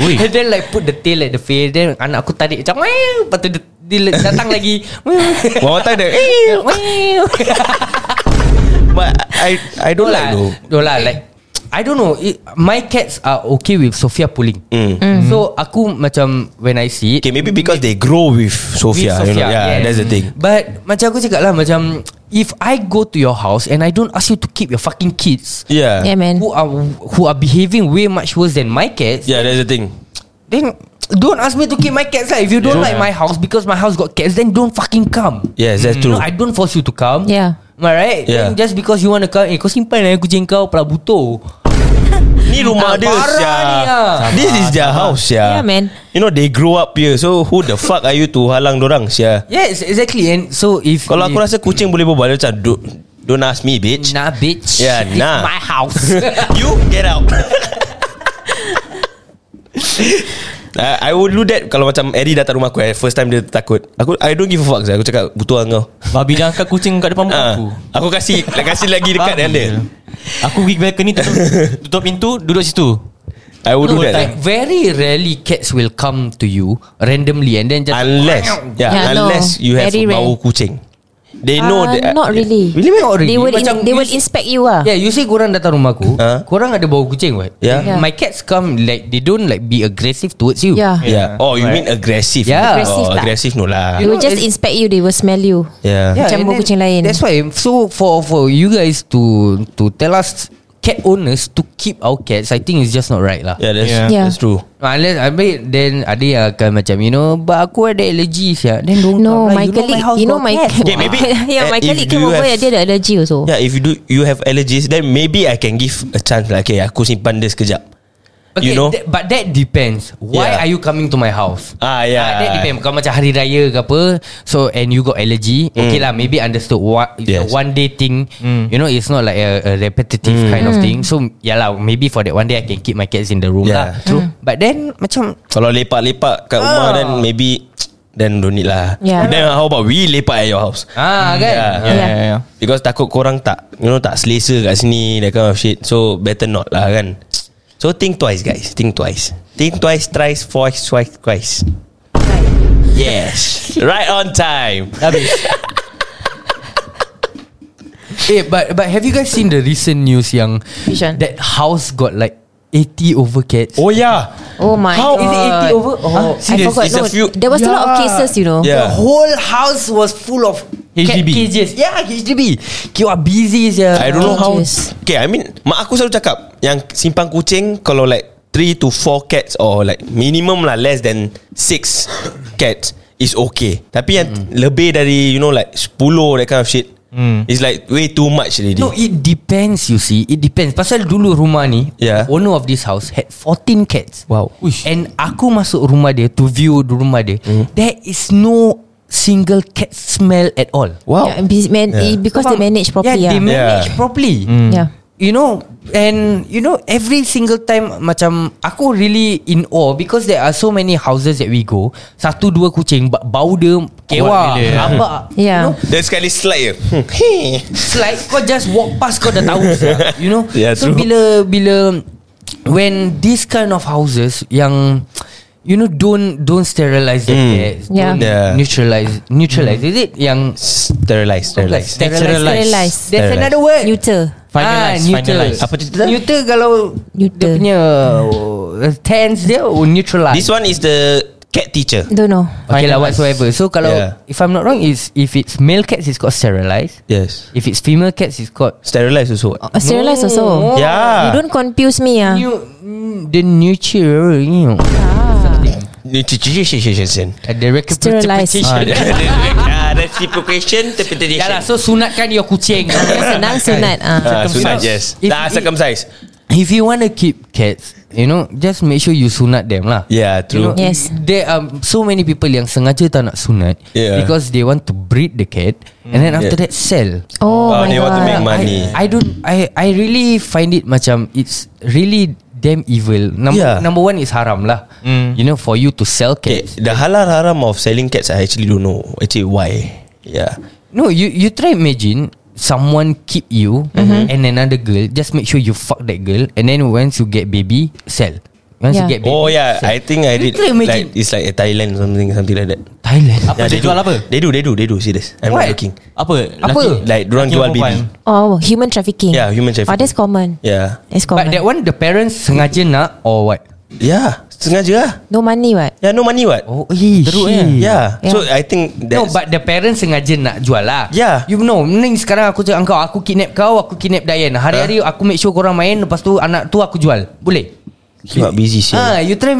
S2: And then like Put the tail at the face Then anak aku tarik Macam "Meow." Lepas tu dia, dia le- datang lagi Eh, Meow.
S4: One more time dia "Eh,
S2: Meow.
S4: But I I don't like though
S2: No lah like I don't know it, My cats are okay with Sophia pulling
S4: Mm.
S2: So aku macam When I see it
S4: Okay maybe because they grow with
S2: with
S4: Sophia, you know, Yeah
S2: yes.
S4: that's the thing
S2: But macam aku cakap lah Macam If I go to your house And I don't ask you to keep your fucking
S4: Mm-hmm.
S2: kids
S5: yeah,
S4: Yeah
S5: man.
S2: Who are who are behaving way much worse than my cats
S4: Yeah that's the thing
S2: Then don't ask me to keep my cats lah. If you don't like
S4: Yeah.
S2: my house because my house got cats, then don't fucking come.
S4: Yes that's
S2: You
S4: true
S2: know, I don't force you to come.
S5: Yeah.
S2: Am I right?
S4: Yeah.
S2: Then just because you want to come, eh kau simpan eh kucing kau pula butuh.
S4: Ni
S2: Ah,
S4: rumah dia
S2: parah
S4: Sia
S2: ni, ah.
S4: This is their house Sia
S5: Yeah, man.
S4: You know they grow up here So who the fuck are you to halang dorang Sia
S2: Yes, exactly. And so if
S4: Kalau
S2: if-
S4: aku rasa kucing boleh berbual dia Macam "Don't- Don't ask me bitch
S2: nah bitch,
S4: Yeah,
S2: This
S4: Ya, nah.
S2: my
S4: [LAUGHS]
S2: house.
S4: You get out [LAUGHS] I, I would do that Kalau macam Eddie datang rumah aku eh, First time dia takut Aku I don't give a fuck Zai. Aku cakap Butuh lah kau
S3: Babi jangan angkat kucing kat depan muka
S4: Ah,
S3: aku
S4: Aku kasih like, Kasih lagi dekat
S3: Babi
S4: dengan dia
S3: je. Aku pergi balcony tutup, tutup pintu Duduk situ
S4: I would do
S3: Whole
S4: that
S2: like very rarely cats will come to you randomly and then just
S4: Unless yeah,
S5: Yeah, no.
S4: Unless you have
S5: Very rare.
S4: Bau kucing They know
S5: Ah,
S4: that,
S5: not really.
S4: Really man?
S2: Not really.
S5: They will in,
S2: Macam
S5: they will
S2: you-
S5: inspect you ah.
S2: Yeah, you see korang datang rumah aku,
S4: Ah.
S2: korang ada bau kucing right?
S4: Yeah.
S5: Yeah.
S2: My cats come like they don't like be aggressive towards you.
S5: Yeah.
S4: Yeah. Oh you mean aggressive
S2: Yeah.
S5: Aggressive
S4: oh,
S5: lah.
S4: Aggressive no lah
S5: They will just inspect you, they will smell you.
S4: Yeah,
S2: Ya,
S5: Macam
S2: and
S5: bau
S2: then-
S5: kucing lain.
S2: That's why So for for you guys to To tell us Cat owners To keep our cats I think it's just not right lah
S4: yeah, that's,
S3: Yeah.
S5: Yeah.
S4: that's true
S2: Unless I mean, Then ada yang akan macam You know But aku ada allergy siya. Then don't
S5: No,
S2: come lah.
S5: my colleague, you know my [LAUGHS]
S4: Okay, maybe,
S5: yeah,
S4: eh,
S5: my
S4: if
S5: colleague
S4: do
S5: came
S4: you
S5: over,
S4: have-
S5: dia ada allergy also.
S4: Yeah if you do You have allergies Then maybe I can give A chance lah Okay aku simpan dia sekejap
S2: Okay,
S4: you know?
S2: that, but that depends. Why
S4: Yeah.
S2: are you coming to my house?
S4: Ah, yeah.
S2: Ah, that depends. Kau macam hari raya ke apa, so and you got allergy. Mm. Okay lah, maybe understood. What it's
S4: Yes.
S2: a one day thing. Mm. You know, it's not like a, a repetitive mm. kind of thing. So yeah lah, maybe for that one day I can keep my cats in the room
S4: Yeah,
S2: lah. True. Mm. But then macam
S4: Kalau lepak-lepak kat rumah
S2: Ah.
S4: Then maybe Then don't need lah
S5: Yeah.
S4: Then how about we lepak at your house
S2: ah kan.
S4: yeah.
S2: Ah.
S5: Yeah.
S3: yeah.
S4: Because takut korang tak You know tak selesa kat sini That kind of shit So better not lah kan So think twice guys Think twice Think twice, thrice, twice, twice, twice Yes Right on time
S2: Habis Eh but but have you guys seen the recent news yang
S5: Which one?
S2: that house got like 80 over cats?
S4: Oh yeah
S5: Oh my
S4: How-
S5: god.
S4: Is
S2: it 80 over? Oh,
S5: Huh? I
S2: serious?
S5: forgot.
S4: It's a
S5: no,
S4: few-
S5: there was a lot of
S2: Yeah.
S5: cases, you know.
S4: Yeah.
S2: The whole house was full of cat
S3: HDB.
S2: cages. Yeah, HDB. You are busy sia.
S4: I don't know how
S5: Cages.
S4: Okay I mean Mak aku selalu cakap Yang simpan kucing Kalau like 3 to 4 cats Or like Minimum lah Less than 6 cats Is okay Tapi yang Lebih dari You know like 10 That kind of shit It's like way too much already
S2: No, it depends you see. It depends. Pasal dulu rumah ni,
S4: Yeah.
S2: the owner of this house had 14 cats.
S4: Ya. Wow.
S2: Uish. And aku masuk rumah dia to view the rumah dia.
S4: Hmm.
S2: There is no single cat smell at all.
S4: Wow
S5: Yeah, be-
S4: Oh.
S5: man,
S4: Yeah. Mm.
S5: it- because they manage properly. ah.
S2: Yeah,
S5: Yeah,
S2: they manage
S4: Yeah. Hmm.
S2: properly.
S5: yeah.
S2: You know, and you know every single time macam aku really in awe because there are so many houses that we go. Satu dua kucing but bau dia kewa,
S4: ya.
S3: bila.
S2: rabak.
S5: [LAUGHS]
S2: You
S5: Yeah.
S2: know,
S4: Dia sekali slide je hmm.
S2: It's like kau just walk past kau dah
S4: [LAUGHS]
S2: tahu sia. You know
S4: Yeah,
S2: So
S4: true.
S2: bila Bila When this kind of houses Yang You know don't Don't sterilize the cats
S5: Yeah.
S2: Don't
S4: Hmm. Yeah. Hmm.
S2: neutralize Neutralize Is it yang
S4: Sterilise Sterilise
S5: Sterilize.
S2: There's
S4: Sterilize.
S2: another word
S5: Neuter.
S3: Finalize, finalize.
S2: Apa
S4: Apa
S2: cerita?
S4: cerita?
S2: Neuter kalau Neuter. Dia
S5: Neuter.
S2: punya uh, Tense dia oh, Neutralize
S4: This one is the Cat teacher
S5: Don't know.
S2: Okay lah
S3: Finalize.
S2: whatsoever So kalau
S4: Yeah.
S2: If I'm not wrong is If it's male cats It's called sterilize
S4: Yes
S2: If it's female cats It's called
S4: Sterilise also
S5: Uh, Sterilise also. You
S4: Yeah
S5: don't confuse me, ah.
S2: New, the nurture, you know.
S4: Ni cicicicicicicin.
S2: Uh, the
S5: Sterilise.
S2: recapitulation.
S4: Ah, Reciprocation Interpretation
S2: Yalah, Ya lah, so sunatkan your kucing.
S5: [LAUGHS] Senang sunat.
S4: Ah,
S5: Ah.
S4: sunat
S2: Circumcise.
S4: yes.
S2: If
S4: Nah,
S2: it-
S4: circumcise.
S2: If you want to keep cats, you know, just make sure you sunat them lah.
S4: Yeah,
S2: You know,
S4: true.
S5: Yes.
S2: There are so many people yang sengaja tak nak sunat
S4: Yeah. Mm,
S2: because they want to breed the cat and then after that
S4: yeah.
S2: sell.
S5: Oh,
S4: Oh,
S5: my
S4: they
S5: god.
S4: want to make money.
S2: I, I don't I I really find it macam it's really damn evil. Number
S4: Yeah. Mm.
S2: number one is haram lah. You know for you to sell
S4: Okay,
S2: cats.
S4: the halal haram of selling cats, I actually don't know. Actually, why? Yeah.
S2: No, you you try imagine someone keep you and another girl. Just make sure you fuck that girl, and then once you get baby, sell. Once you
S5: Yeah.
S2: get baby,
S4: Oh yeah, I think I
S2: You
S4: did.
S2: try imagine.
S4: Like it's like a Thailand something something like that.
S2: Thailand.
S3: Apa dia jual apa?
S4: They do, they do, they do. See this? I'm
S2: What?
S4: not looking.
S3: Apa?
S2: Apa?
S4: Like dorang
S3: laki
S4: jual
S3: perempuan.
S4: baby.
S5: Oh, human trafficking.
S4: Yeah, human
S5: Oh,
S4: trafficking.
S5: that's common.
S4: Yeah,
S5: That's
S2: But
S5: common.
S2: that one the parents sengaja nak or what?
S4: yeah. Sengaja lah.
S5: no money, what?
S4: Yeah, no money what?
S2: Oh, eh,
S3: Teruk,
S2: shit.
S3: eh?
S4: Yeah.
S5: Yeah.
S4: So I think that's
S2: No, but the parents sengaja nak jual lah.
S4: Yeah.
S2: You know, ni sekarang aku cakap kau, aku kidnap kau, aku kidnap Diane. Hari-hari aku make sure korang main, lepas tu anak tu aku jual. Boleh?
S4: you are busy shit.
S2: Ah, you try.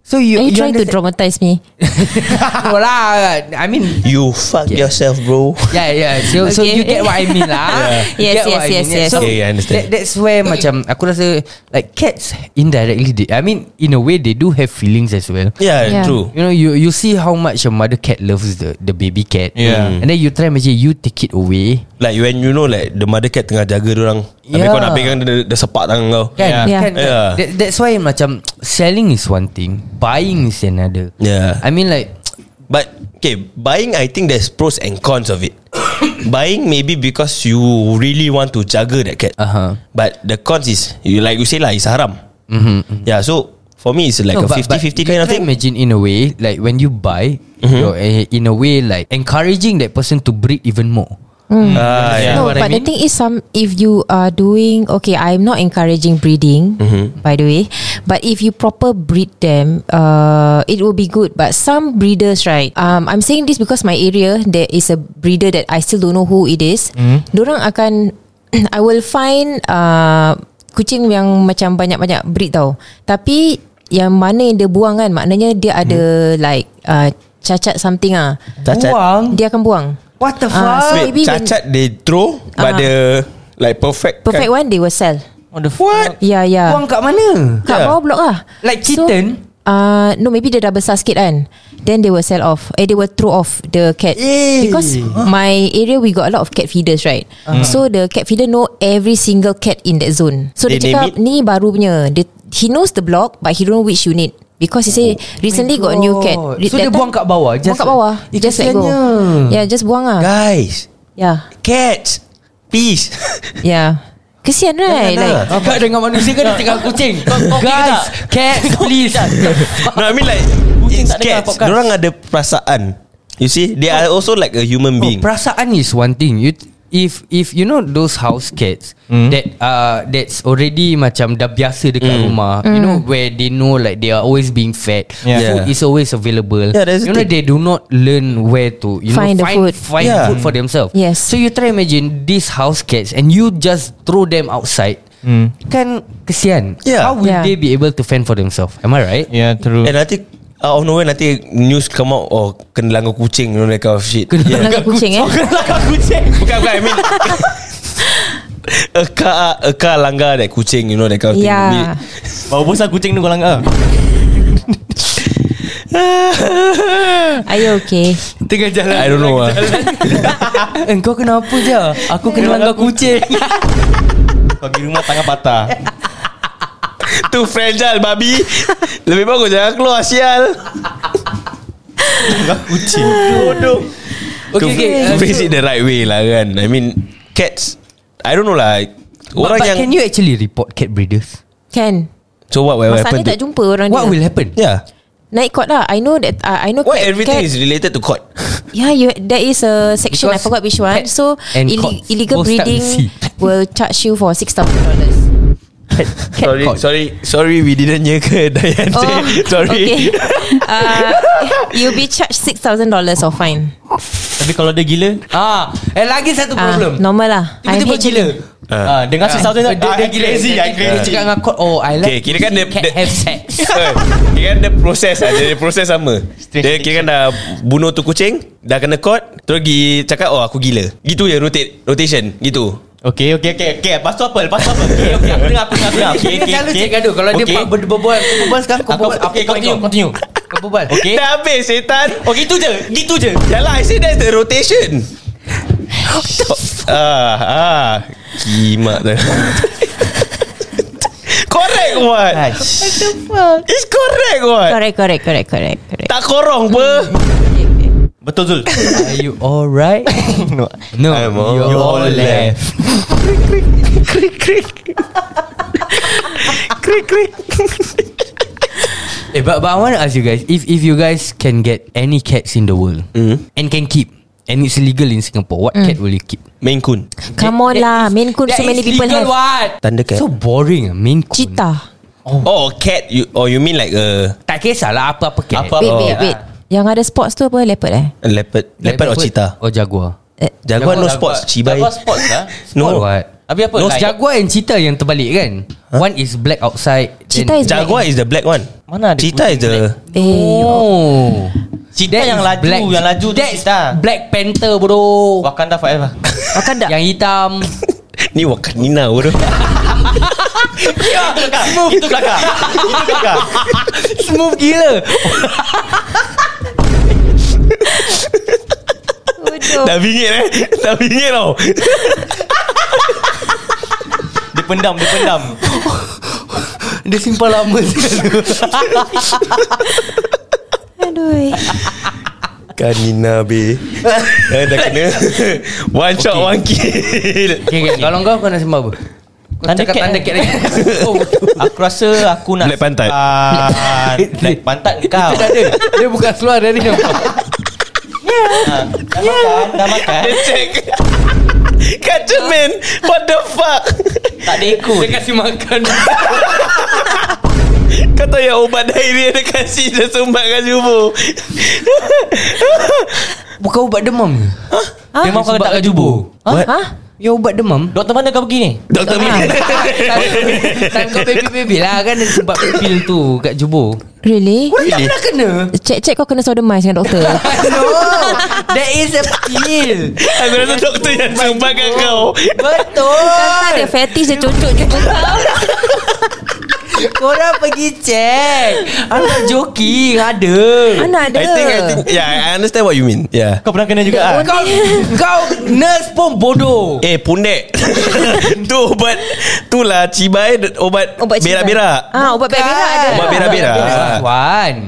S2: So you
S5: Are you, trying to traumatize me?
S2: [LAUGHS] no lah. I
S4: [LAUGHS]
S2: mean,
S4: You fuck
S2: Yeah.
S4: yourself, bro.
S2: Yeah, yeah. So, okay. so
S5: Okay.
S2: you get what I mean
S5: [LAUGHS]
S2: lah.
S5: Yeah.
S2: You
S5: Yes,
S2: get what
S5: yes,
S2: I
S5: yes,
S2: mean.
S5: yes.
S2: So
S4: Okay, I understand.
S2: That, that's where macam aku rasa like cats indirectly. They, I mean, in a way they do have feelings as well.
S4: Yeah,
S5: Yeah.
S4: true.
S2: You know, you you see how much a mother cat loves the the baby cat.
S3: Yeah.
S2: And then you try macam you take it away.
S4: Mm. Like when you know like the mother cat tengah jaga orang. Tapi
S2: Yeah.
S4: kau nak pegang dia, dia sepak tangan kau.
S2: Kan?
S3: Yeah.
S5: Yeah.
S2: Kan?
S4: Yeah.
S2: That, that's why macam selling is one thing, buying is another.
S4: Yeah.
S2: I mean like
S4: But okay, buying I think there's pros and cons of it. [COUGHS] buying maybe because you really want to juggle that cat.
S2: Uh-huh.
S4: But the cons is you like you say lah, it's haram. Mm-hmm. Yeah, so for me it's like
S2: No,
S4: a
S2: but- but
S4: 50-50
S2: you
S4: kind of
S2: try
S4: thing. Mm-hmm.
S2: Imagine in a way like when you buy, you're eh, in a way like encouraging that person to breed even more.
S4: Ah, yeah.
S5: no,
S3: what I
S5: but the
S3: mean?
S5: thing is, some if you are doing okay, I'm not encouraging breeding,
S3: Mm-hmm.
S5: by the way. But if you proper breed them, uh, it will be good. But some breeders, right? Um, I'm saying this because my area there is a breeder that I still don't know who it is.
S2: Mm-hmm.
S5: Dorang akan, [CLEARS THROAT] I will find uh, kucing yang macam banyak-banyak breed tau. Tapi yang mana yang dia buang kan, maknanya dia ada
S3: Hmm.
S5: like uh, cacat something ah.
S4: Cacat.
S2: Buang.
S5: Dia akan buang.
S2: What the
S5: Ah,
S2: fuck?
S5: so-
S4: Wait,
S5: maybe when-
S4: cacat they throw but
S5: Ah.
S4: the like perfect.
S5: Perfect
S4: kind-
S5: one they will sell.
S3: What the fuck?
S5: Yeah, yeah.
S2: Kan? Buang kat mana?
S5: Kat
S4: Yeah.
S5: yeah. bawah blok lah
S2: Like kitten?
S5: so, uh, No maybe dia dah besar sikit kan Then they will sell off Eh they will throw off The cat
S2: Eh.
S5: Because my area We got a lot of cat feeders right So the cat feeder Know every single cat In that zone So
S4: They name
S5: dia cakap
S4: it?
S5: Ni baru punya dia, He knows the block But he don't know which unit Because he say Recently got new cat
S2: Oh God.
S5: Re-
S2: So, dia
S5: that time-
S2: buang kat bawah?
S5: Buang
S2: Just-
S5: kat bawah
S2: Eh,
S5: Just let go
S2: kesiannya.
S5: Yeah just buang lah
S4: Guys,
S5: Yeah
S4: cats, peace.
S5: Yeah Kesian
S4: Jangan
S5: right Like
S4: lah.
S2: Kau dengan manusia ke dia tengah kucing
S3: kau [LAUGHS] okey
S2: Guys
S3: tak?
S2: Cats please
S4: [LAUGHS] No, I mean like
S3: Kucing
S4: it's
S3: tak dengar
S4: cats.
S3: podcast.
S4: Orang ada perasaan. You see, they are also like a human
S2: oh,
S4: being.
S2: Perasaan is one thing You If if you know those house cats mm.
S3: Hmm.
S2: that uh that's already macam dah biasa dekat mm. rumah
S5: Hmm.
S2: mm. you know where they know like they are always being fed
S3: Yeah.
S2: food is always available
S4: Yeah, that's
S2: you know
S4: the thing.
S2: they do not learn where to you
S5: Find
S2: know
S5: the
S2: find
S5: food.
S2: find
S4: Yeah.
S2: food
S3: Hmm.
S2: for themselves
S5: Yes.
S2: so you try imagine these house cats and you just throw them outside
S3: Hmm.
S2: mm. kan kesian
S4: Yeah.
S2: how will
S5: Yeah.
S2: they be able to fend for themselves am I right
S3: Yeah true
S4: And Eh, nanti out of nowhere nanti news come out oh kena langgar kucing you know that kind of shit.
S2: Kena
S5: yeah. Langgar kucing eh
S4: bukan bukan I mean [LAUGHS] A car A car langgar that kucing You know that kind of thing
S5: Yeah
S3: Bawa besar kucing ni kau langgar
S5: Are you okay
S2: Tengah jalan
S4: I don't know lah [LAUGHS]
S2: [LAUGHS] Engkau kenapa je Aku kena langgar kucing
S3: Pergi rumah tangan patah
S4: Tu fragile babi Lebih bagus jangan keluar sial
S3: Langgar kucing
S2: Okay Uh, okay
S4: To phrase it the right way lah kan I mean Cats I don't know lah
S2: Orang but,
S4: Orang
S2: but
S4: yang
S2: can you actually report cat breeders
S5: Can
S4: So what will happen
S5: Masalahnya Kan? tak
S4: to
S5: jumpa orang
S2: What
S5: dia
S2: will happen
S4: Yeah
S5: Naik kot lah I know that uh, I know
S4: Why
S5: cat-
S4: everything
S5: cat-
S4: is related to court
S5: Yeah, you, there is a section
S2: Because
S5: I forgot which one.
S2: pet
S5: So
S2: and
S5: illi-
S2: cots
S5: illegal
S2: both start
S5: breeding
S2: with C.
S5: will charge you for six thousand
S2: [LAUGHS]
S5: dollars.
S2: Cat
S4: Sorry
S2: caught.
S4: sorry Sorry we didn't hear [LAUGHS] ke Dayan say Sorry
S5: Oh, Okay. Uh, you'll be charged six thousand dollars or fine.
S3: Tapi kalau dia gila
S2: Ah, Eh lagi satu
S5: Ah,
S2: problem
S5: normal lah.
S2: Tiba-tiba
S5: I'm
S2: gila
S3: Ah, Dengan 6,000
S2: Ah, Dia dia gila Dia Dia cakap dengan court Oh I
S4: Okay
S2: like
S4: kira kan dia,
S2: Cat
S4: dia
S2: have sex
S4: Eh, [LAUGHS] Kira kan dia proses lah Dia proses sama Dia kira kan dah Bunuh tu kucing Dah kena caught Terus pergi Cakap oh aku gila Gitu je rotate Rotation Gitu
S3: Okay okay okay
S4: Eh,
S3: okay. Lepas tu apa Lepas tu apa Okay okay Aku dengar aku dengar, aku dengar Okay
S2: Dia
S3: okay
S2: selalu
S3: okay
S2: cakap gaduh Kalau dia
S3: Okay.
S2: ber- ber- berbual Kau berbual sekarang Kau
S3: Aku
S2: berbual
S3: Okay
S2: Aku
S3: continue
S2: tengok.
S3: continue
S2: Kau berbual
S3: Okay
S4: Dah habis setan
S3: Okay itu je Gitu je
S4: Yalah I say that's the
S3: [LAUGHS]
S4: rotation ah, ah. Kimak
S3: [LAUGHS]
S4: tu Correct what It's correct what
S5: Correct, correct, correct, correct, correct.
S4: Tak korong apa
S3: Betul Zul
S2: Are you alright No
S4: I'm all-
S2: You
S4: You're all
S2: all left
S4: Krik krik
S2: Eh, but, but I want to ask you guys if if you guys can get any cats in the world
S4: Hmm.
S2: and can keep and it's legal in Singapore, what cat will you keep?
S4: Main kun
S5: Come on lah, Maine Coon Mm. so many people have.
S2: What?
S4: Thundercat.
S2: So boring ah, Main Coon.
S5: Cheetah.
S4: Oh cat you, Oh you mean like a
S2: Tak kisahlah apa-apa cat.
S3: Apa-
S5: Wait,
S4: Oh.
S5: wait, wait. Yang ada sports tu apa? Leopard eh?
S4: a leopard Leopard or cheetah
S2: Or Oh, jaguar.
S5: Eh,
S4: Jaguar no sports Cibai
S3: Jaguar sports lah
S4: No.
S2: Or what?
S3: Habis apa
S2: No,
S3: like-
S2: jaguar and cheetah yang terbalik kan? One is black outside.
S5: Cheetah is black.
S4: Jaguar is the black one
S3: Mana ada
S4: Cheetah is the
S5: Eh,
S2: [LAUGHS] Oh.
S3: Cheetah yang laju, yang laju tu
S2: That's
S3: cheetah.
S2: Black Panther bro.
S3: Wakanda [LAUGHS] forever
S5: Wakanda.
S2: Yang hitam.
S4: [LAUGHS] Ni Wakanina bodoh
S3: Smooth Itu kelakar Itu kelakar
S2: Smooth gila.
S5: Bodoh.
S4: Dah bingit eh Dah bingit tau
S3: Dia pendam Dia pendam
S2: Dia simpan lama [LAUGHS] sekali.
S5: Aduh. eh.
S4: Kan, Kanina be Eh, Dah, dah kena One shot
S2: Okay.
S4: one kill
S2: Okay, okay. Kalau kau kau nak sembah apa? Kau
S3: Tanda
S2: cakap
S3: cat. eh.
S2: tanda
S3: [LAUGHS]
S2: cat lagi [LAUGHS] Oh
S3: Aku rasa Aku nak
S4: Black pantat.
S3: [LAUGHS] Ah, Black pantat kau
S2: Itu dah ada Dia bukan seluar dari dia
S3: Ah, Dah makan Dah [LAUGHS] makan
S4: Check Kacau man What the fuck
S3: Tak ada ekor
S2: Dia kasih makan
S4: [LAUGHS] Kau tahu yang ubat diarrhea Dia kasih Dia sumbat kat jubur
S2: [LAUGHS] Bukan ubat demam ke?
S5: Ha?
S3: Memang kau
S2: Sebab
S3: letak kat
S2: kat
S3: jubur
S5: Ha?
S4: What?
S5: Ha?
S2: Ya ubat demam
S3: Doktor mana kau pergi ni?
S4: Doktor
S5: Ah.
S4: Min
S2: [LAUGHS] Tangan kau baby-baby lah Kan dia sebab pil tu Kat jubur
S5: [LAUGHS] Really?
S2: Kau tak pernah kena
S5: Cek-cek kau kena sodomize dengan doktor.
S2: [LAUGHS] No That is a pill
S4: Aku rasa doktor yang sumbat kat kau
S5: Tak ada
S2: Betul
S5: fetish dia cocok je kau.
S2: Korang pergi cek Anak joking Ada
S5: Mana ada
S4: I think, I think Yeah I understand what you mean Yeah
S3: Kau pernah kena juga ah?
S2: Kau Kau Nurse pun bodoh
S4: Eh [LAUGHS] pundek Tu ubat Tu lah cibai Ubat,
S5: Obat cibai.
S4: berak-berak
S5: Ah, obat berak-berak ada.
S4: Ubat berak-berak.
S2: That's One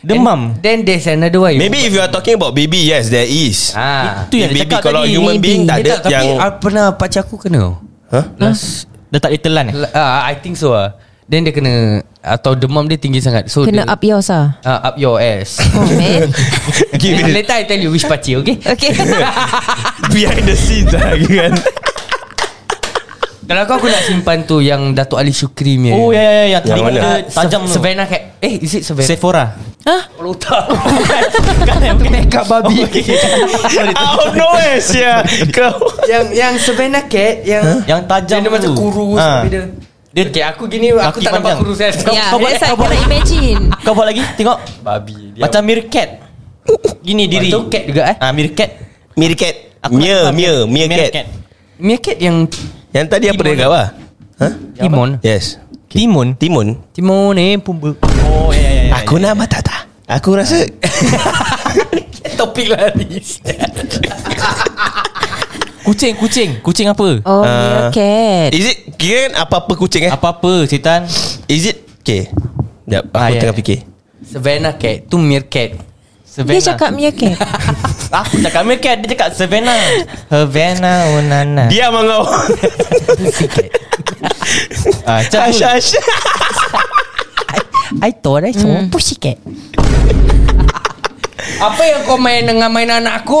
S3: Demam.
S2: And Then there's another one
S4: Maybe if you are talking about baby Yes there is
S2: Ah.
S3: Itu yang dia
S4: Baby
S3: cakap
S4: kalau
S3: tadi
S4: human
S5: Maybe.
S2: Eh,
S4: being Tak ada
S2: tak, tapi
S4: yang
S2: yang... pernah pakcik aku kena
S4: Huh?
S2: Last
S3: Dia tak boleh telan eh?
S2: L- Ah, I think so ah. Then dia kena atau demam dia tinggi sangat. So
S5: Kena
S2: dia,
S5: up yours lah
S2: uh, up your ass.
S5: Oh man
S4: [LAUGHS] Give it
S2: Later I tell you which party, okay?
S5: Okay
S4: behind the scenes lah [LAUGHS] kan.
S2: Kalau kau aku nak simpan tu yang Datuk Ali Shukri punya.
S3: Oh ya ya ya, ya.
S4: Yang
S3: Telinga
S4: mana?
S3: dia
S2: Ah,
S3: tajam
S2: Se-
S3: tu.
S2: Savannah Cat. Eh, is it Savannah?
S3: Sephora.
S5: Huh?
S2: Lotak. Bukan. Bukan. [LAUGHS] Makeup babi.
S4: Out of nowhere sia kau.
S2: yang yang Savannah Cat yang
S3: Yang tajam
S2: yang dia macam
S3: tu.
S2: kurus
S3: Ah.
S2: tapi dia. Ha. Dia okay, aku gini aku
S3: Kaki
S2: tak nampak
S3: panjang.
S2: kurus kan.
S5: Yeah
S3: kau buat-
S5: That's
S3: kau
S5: I
S3: buat-
S5: cannot imagine
S3: Kau buat lagi Tengok
S2: Babi. Dia
S3: Macam meerkat Gini diri
S2: Itu cat juga eh.
S3: Ah meerkat
S4: Meerkat. Mia, Mia, Mia cat.
S2: Mia Cat yang
S4: Yang tadi apa dia kau ah? Ha?
S2: Timon.
S4: Yes.
S3: Timun
S4: Timun.
S2: Timon eh pumba.
S3: Oh ya ya ya, ya
S4: Aku nak matata. Aku rasa
S2: Topik lah ni.
S3: Kucing kucing Kucing apa
S5: Oh
S4: Ah.
S5: meerkat
S4: Is it Kira kan apa-apa kucing eh
S3: Apa-apa setan
S4: Is it Okay Sekejap Aku
S3: Ah, yeah,
S4: tengah
S3: yeah.
S4: fikir
S2: Savannah Cat tu meerkat.
S5: Dia cakap meerkat
S3: Ah, Aku cakap meerkat Dia cakap Savannah Havana Onana
S4: Diam lah kau
S3: ah, macam tu.
S4: Ash ash
S2: I thought I saw mm. pussycat. Apa yang kau main dengan mainan [LAUGHS] aku?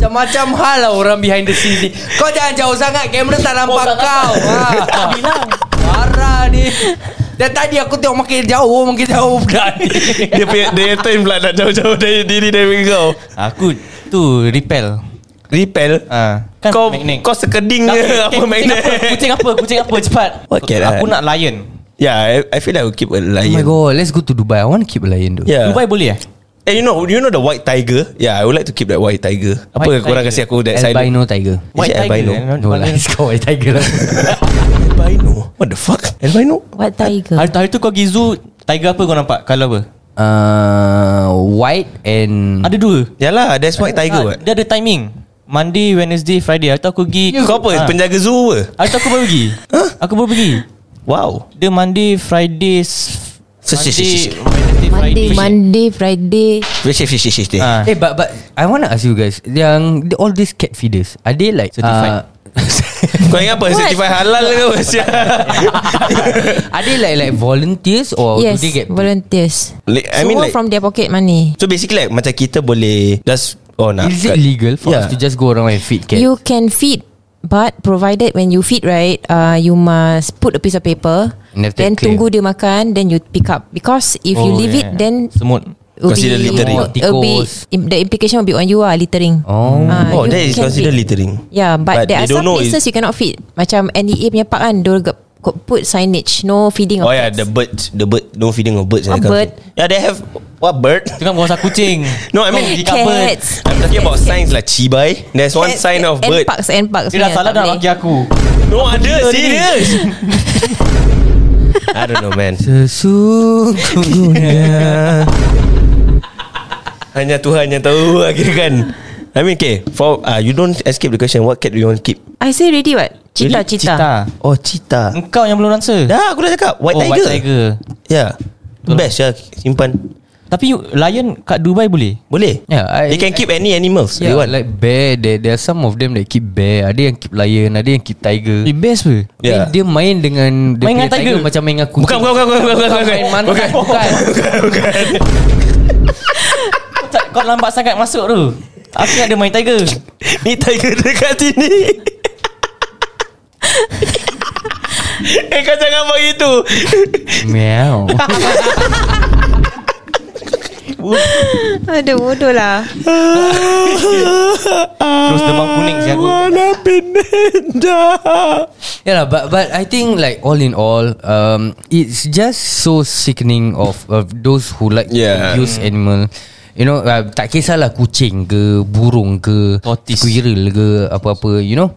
S2: Macam-macam hal lah orang behind the scenes ni. Kau jangan jauh Oh, sangat. Kamera tak nampak [LAUGHS] kau. Ha. Bilang. Parah ni. Dan tadi aku tengok makin jauh, makin jauh budak ni.
S4: Dia punya Dia turn pula Nak jauh-jauh dari diri dari kau
S3: Aku Tu repel
S4: Repel
S3: ah, kan
S4: Kau
S3: magnet.
S4: Kau
S2: [LAUGHS]
S4: sekeding
S3: Tak,
S4: ke Apa
S3: kucing
S4: magnet
S3: apa, Kucing apa Kucing apa cepat
S4: What cat
S3: Aku
S4: ah?
S3: nak lion
S4: [LAUGHS] Yeah I, I feel like we keep a
S2: Oh my
S4: lion
S2: god, let's go to Dubai. I want to keep a lion though.
S4: Yeah
S3: Dubai boleh eh
S4: Ya. Eh you know You know the white tiger Yeah I would like to keep that white tiger Apa
S3: White
S4: yang korang
S3: tiger.
S4: kasih aku That side
S2: Albino tiger.
S4: White tiger albino?
S3: eh?
S2: No lah, it's called white tiger lah.
S4: [LAUGHS] Albino What the fuck Albino
S5: What tiger
S3: Hari, hari tu kau pergi zoo Tiger apa kau nampak Kalau apa
S2: Hmm. uh, white and...
S3: Ada dua
S4: Yalah Ya lah, That's white tiger
S3: Ah,
S4: what
S3: Dia ada timing Monday, Wednesday, Friday Hari tu aku pergi
S2: Ya
S4: Kau apa
S3: Ah.
S4: Penjaga zoo ke
S3: Hari tu aku baru pergi Aku baru pergi
S4: Wow
S3: Dia Monday, Friday s-
S4: So,
S3: Monday,
S4: si- si- si- si.
S3: Wednesday, Friday
S5: Monday Monday Friday
S4: Fish fish fish fish
S3: Ah.
S2: Eh, but but I want to ask you guys, yang the, all these cat feeders, are they like
S3: Certified.
S4: [LAUGHS] Kau ingat apa
S5: What?
S4: Certified halal ke Sia.
S2: Uh, are they like like volunteers or
S5: Yes
S2: Oh, do they get?
S5: Volunteers
S4: Like, I
S5: I
S4: mean
S5: mean
S4: like
S5: from their pocket money
S4: So basically like Macam kita boleh Just Oh nak
S2: Is it legal for
S4: Yeah.
S2: us to just go around and feed cats?
S5: You can feed But provided when you feed right uh, You must put a piece of paper
S2: And have to
S5: Then
S2: clear.
S5: tunggu dia makan Then you pick up Because if you
S3: Oh,
S5: leave
S3: yeah.
S5: it Then
S3: Semut
S5: will
S4: Consider
S5: be,
S4: littering.
S5: will be,
S2: Tikus.
S5: im- The implication will be on you lah Littering
S2: Oh.
S5: Ah,
S4: Oh
S5: you
S4: that is
S5: can
S4: considered
S5: feed.
S4: littering
S5: Yeah
S4: But
S5: but, there
S4: they
S5: are
S4: don't
S5: some
S4: know
S5: places
S4: is-
S5: You cannot feed Macam NDA punya part kan Dia got put signage No feeding
S4: Oh
S5: of
S4: yeah
S5: cats.
S4: the bird The bird No feeding of birds
S5: What
S4: that kind of
S5: bird?
S4: thing. Yeah they have What bird
S3: Itu kan bukan kucing
S4: No I mean
S5: Cats. Oh, Cats.
S4: I'm talking about signs lah Cibai There's one sign of
S5: and
S4: bird
S5: parks and parks
S3: Dia dah
S5: punya,
S3: salah
S5: tak
S3: dah
S5: boleh.
S3: bagi aku
S4: No ada Serious [LAUGHS] I don't know man [LAUGHS]
S2: Sesungguhnya
S4: Hanya Tuhan yang tahu [LAUGHS] Akhirnya kan I mean okay for, uh, You don't escape the question What cat do you want to keep
S5: I say ready what Cheetah
S4: Really?
S5: cheetah
S4: Oh cheetah
S3: Engkau yang belum answer
S4: Dah aku dah cakap White
S3: Oh,
S4: tiger
S3: Ah. White tiger
S4: Yeah Best ya Simpan
S3: Tapi you- lion kat Dubai boleh
S4: Boleh
S2: Yeah, I-
S4: They can keep any animals They
S2: Yeah,
S4: want [LAUGHS]
S2: like bear there, there are some of them that keep bear Ada yang keep lion Ada yang keep tiger
S3: Eh best pun
S4: Yeah.
S2: Dia, dia main dengan dia punya
S3: Main dengan tiger?
S2: Macam main dengan kucing
S4: Ya. Bukan bukan bukan bukan bukan bukan
S2: Main
S4: bukan.
S2: mantan
S4: bukan
S3: [LAUGHS]
S2: bukan.
S3: Kau lambat sangat masuk tu Aku nak ada main tiger
S4: Ni tiger dekat sini [LAUGHS] Eh kau jangan buat gitu
S3: [LAUGHS]
S2: Meow
S5: Aduh bodoh lah
S3: Terus demam kuning si aku
S4: Mana pindah
S2: Yeah, lah, but but I think like all in all, um, it's just so sickening of of those who like
S4: Yeah.
S2: to abuse
S3: Mm.
S2: animal. You know, uh, tak kisahlah kucing ke, burung ke,
S3: Tortoise.
S2: squirrel ke, apa-apa. You know,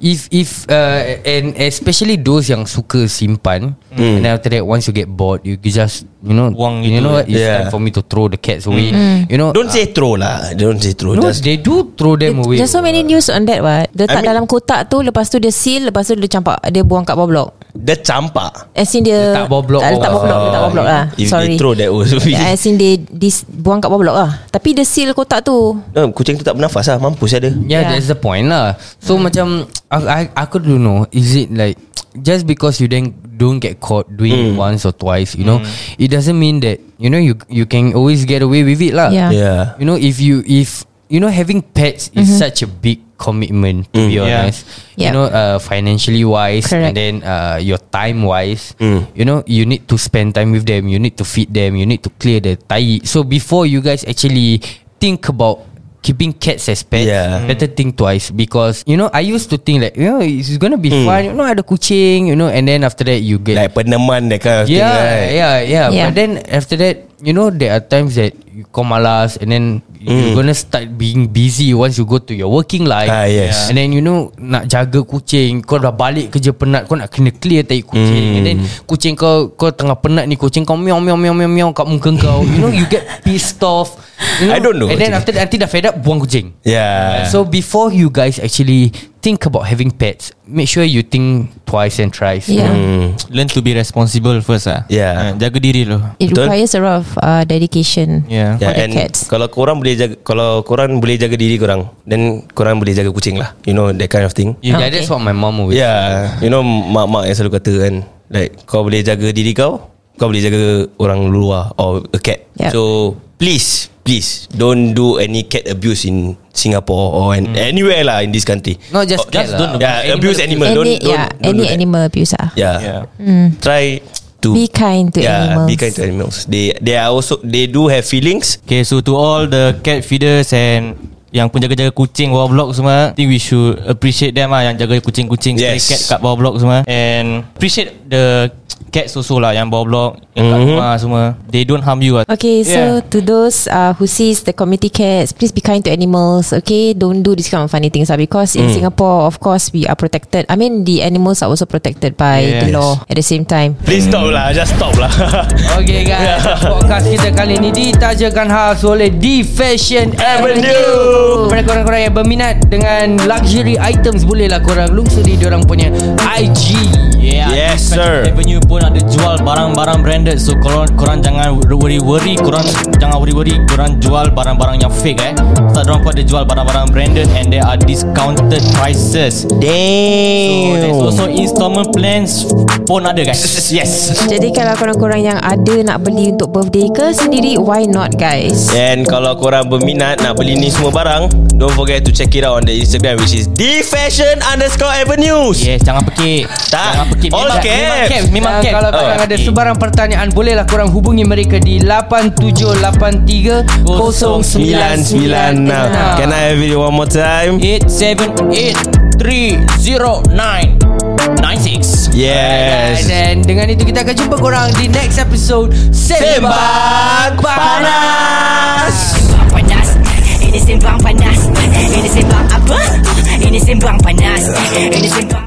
S2: if if uh, and especially those yang suka simpan, and
S4: Mm.
S2: then after that once you get bored, you, you just you know,
S3: Buang
S2: you
S3: gitu. lah. Mm.
S2: know, what, it's
S4: Yeah.
S2: time for me to throw the cats away. You know,
S4: Don't say throw lah Don't say throw
S2: no,
S4: Just
S2: they do throw them away.
S5: There's so many news on that what
S4: I
S5: Letak
S4: mean-
S5: dalam kotak tu Lepas tu dia seal Lepas tu dia campak Dia buang kat bawah blok
S4: Dia campak
S5: As in dia
S2: Letak bawah blok
S5: tak, Letak bawah blok Letak bawah blok lah
S4: If they
S5: Sorry
S4: throw
S5: [LAUGHS]
S4: that was [LAUGHS]
S5: As in dia dis, Buang kat bawah blok lah Tapi dia seal kotak tu
S4: no, Kucing tu tak bernafas lah Mampus ada
S2: Yeah, yeah,
S5: Yeah.
S2: that's the point lah. So mm. macam I, I, aku don't know. Is it like just because you then don't get caught doing mm. it once or twice, you know, mm. it doesn't mean that you know you you can always get away with it lah.
S5: Yeah.
S4: Yeah.
S2: You know, if you if you know having pets is such a big commitment
S4: Mm.
S2: to be
S3: Yeah.
S2: honest. You
S5: Yep.
S2: know, uh, financially wise and
S5: Correct.
S2: then uh, your time wise.
S4: Mm.
S2: You know, you need to spend time with them. You need to feed them. You need to clear the tai. So before you guys actually think about keeping cats as pets,
S4: Yeah.
S2: better think twice because you know I used to think like you know it's gonna be fun. You know, ada kucing. You know, and then after that you get
S4: Mm. Like peneman that kind of thing
S2: yeah,
S4: right?
S2: yeah, yeah,
S5: Yeah.
S2: But then after that, you know, there are times that you kau malas and then you're gonna start being busy once you go to your working life.
S4: Mm. Ah, yes.
S2: And then you know nak jaga kucing, kau dah balik kerja penat, kau nak kena clear tai kucing. And then
S4: Mm.
S2: kucing kau kau tengah penat ni kucing kau meow meow meow meow meow kat muka kau. you know you get pissed off. You know?
S4: I don't know, Ah.
S2: And then after
S4: actually.
S2: that nanti dah fed up buang kucing.
S4: Yeah.
S2: So before you guys actually think about having pets, make sure you think twice and thrice.
S5: Yeah
S4: Hmm.
S3: Learn to be responsible first lah
S4: Yeah.
S3: Ah, Jaga diri Ya. lo
S5: It
S4: Betul.
S5: requires a lot of uh, dedication
S3: Yeah.
S5: For
S4: Yeah,
S5: the
S4: and
S5: cats
S4: kalau korang boleh jaga kalau korang boleh jaga diri korang then korang boleh jaga kucing lah you know that kind of thing
S2: Yeah,
S5: Okay.
S2: that's what my mom always
S4: Yeah uh, You know Mak-mak yang selalu kata kan Like Kau boleh jaga diri kau Kau boleh jaga Orang luar Or a cat
S5: Yup.
S4: So Please Please Don't do any cat abuse In Singapore Or an, anywhere lah In this country
S2: Not just
S4: Or
S2: cat lah.
S4: don't,
S2: Animal
S4: yeah, Abuse
S2: abuse.
S4: animal,
S5: Any,
S4: Don't, don't,
S5: yeah,
S4: don't
S5: any
S4: do that.
S5: animal abuse lah
S4: Yeah,
S3: Yeah.
S4: Try to
S5: Be kind to
S4: yeah,
S5: animals
S4: Be kind to animals They they are also They do have feelings
S3: Okay so to all the cat feeders and yang pun jaga-jaga kucing bawah blok semua I think we should appreciate them lah Yang jaga kucing-kucing stray
S4: Yes.
S3: cat kat bawah blok semua And appreciate the cats also lah Yang bawah blok Yang kat
S4: Mhm.
S3: rumah semua They don't harm you lah
S5: Okay, so to those uh, who sees the community cats, please be kind to animals. Okay, don't do this kind of funny things, lah. Because in Singapore, of course, we are protected. I mean, the animals are also protected by the
S3: Yes.
S5: law at the same time.
S4: Please stop lah Just stop lah
S2: Okay
S4: [LAUGHS] Ya.
S2: guys Podcast kita kali ni Ditajakan khas oleh The Fashion Avenue Kepada korang-korang yang berminat Dengan luxury items Bolehlah korang lungsuri Diorang punya IG
S3: Yeah,
S4: Yes, sir.
S3: Fashion Avenue pun ada jual barang-barang branded So korang, korang jangan worry-worry Korang jangan worry-worry Korang jual barang-barang yang fake eh Sebab dorang pun ada jual barang-barang branded And there are discounted prices So
S4: Damn
S3: there's also installment plans Pun ada
S4: [LAUGHS]
S3: guys Yes
S5: Jadi kalau korang-korang yang ada nak beli untuk birthday ke sendiri, why not guys?
S4: And kalau korang berminat nak beli ni semua barang Don't forget to check it out on the Instagram Which is thefashion underscore avenues
S3: Yes, jangan pekik.
S4: Tak.
S3: Jangan pekik.
S4: All
S3: memang,
S4: caps.
S3: memang caps. Memang
S2: Dan
S3: caps.
S2: kalau korang
S3: Ah.
S2: ada sebarang pertanyaan Bolehlah korang hubungi mereka Di 8783
S4: 996 Can
S2: 0996
S4: I have it one more time?
S3: 87830996.
S2: And
S4: Yes
S2: then dengan itu kita akan jumpa korang Di next episode
S4: Sembang
S2: Sembang
S4: Panas
S6: Sembang panas Ini sembang panas Ini sembang apa? Ini sembang panas Ini sembang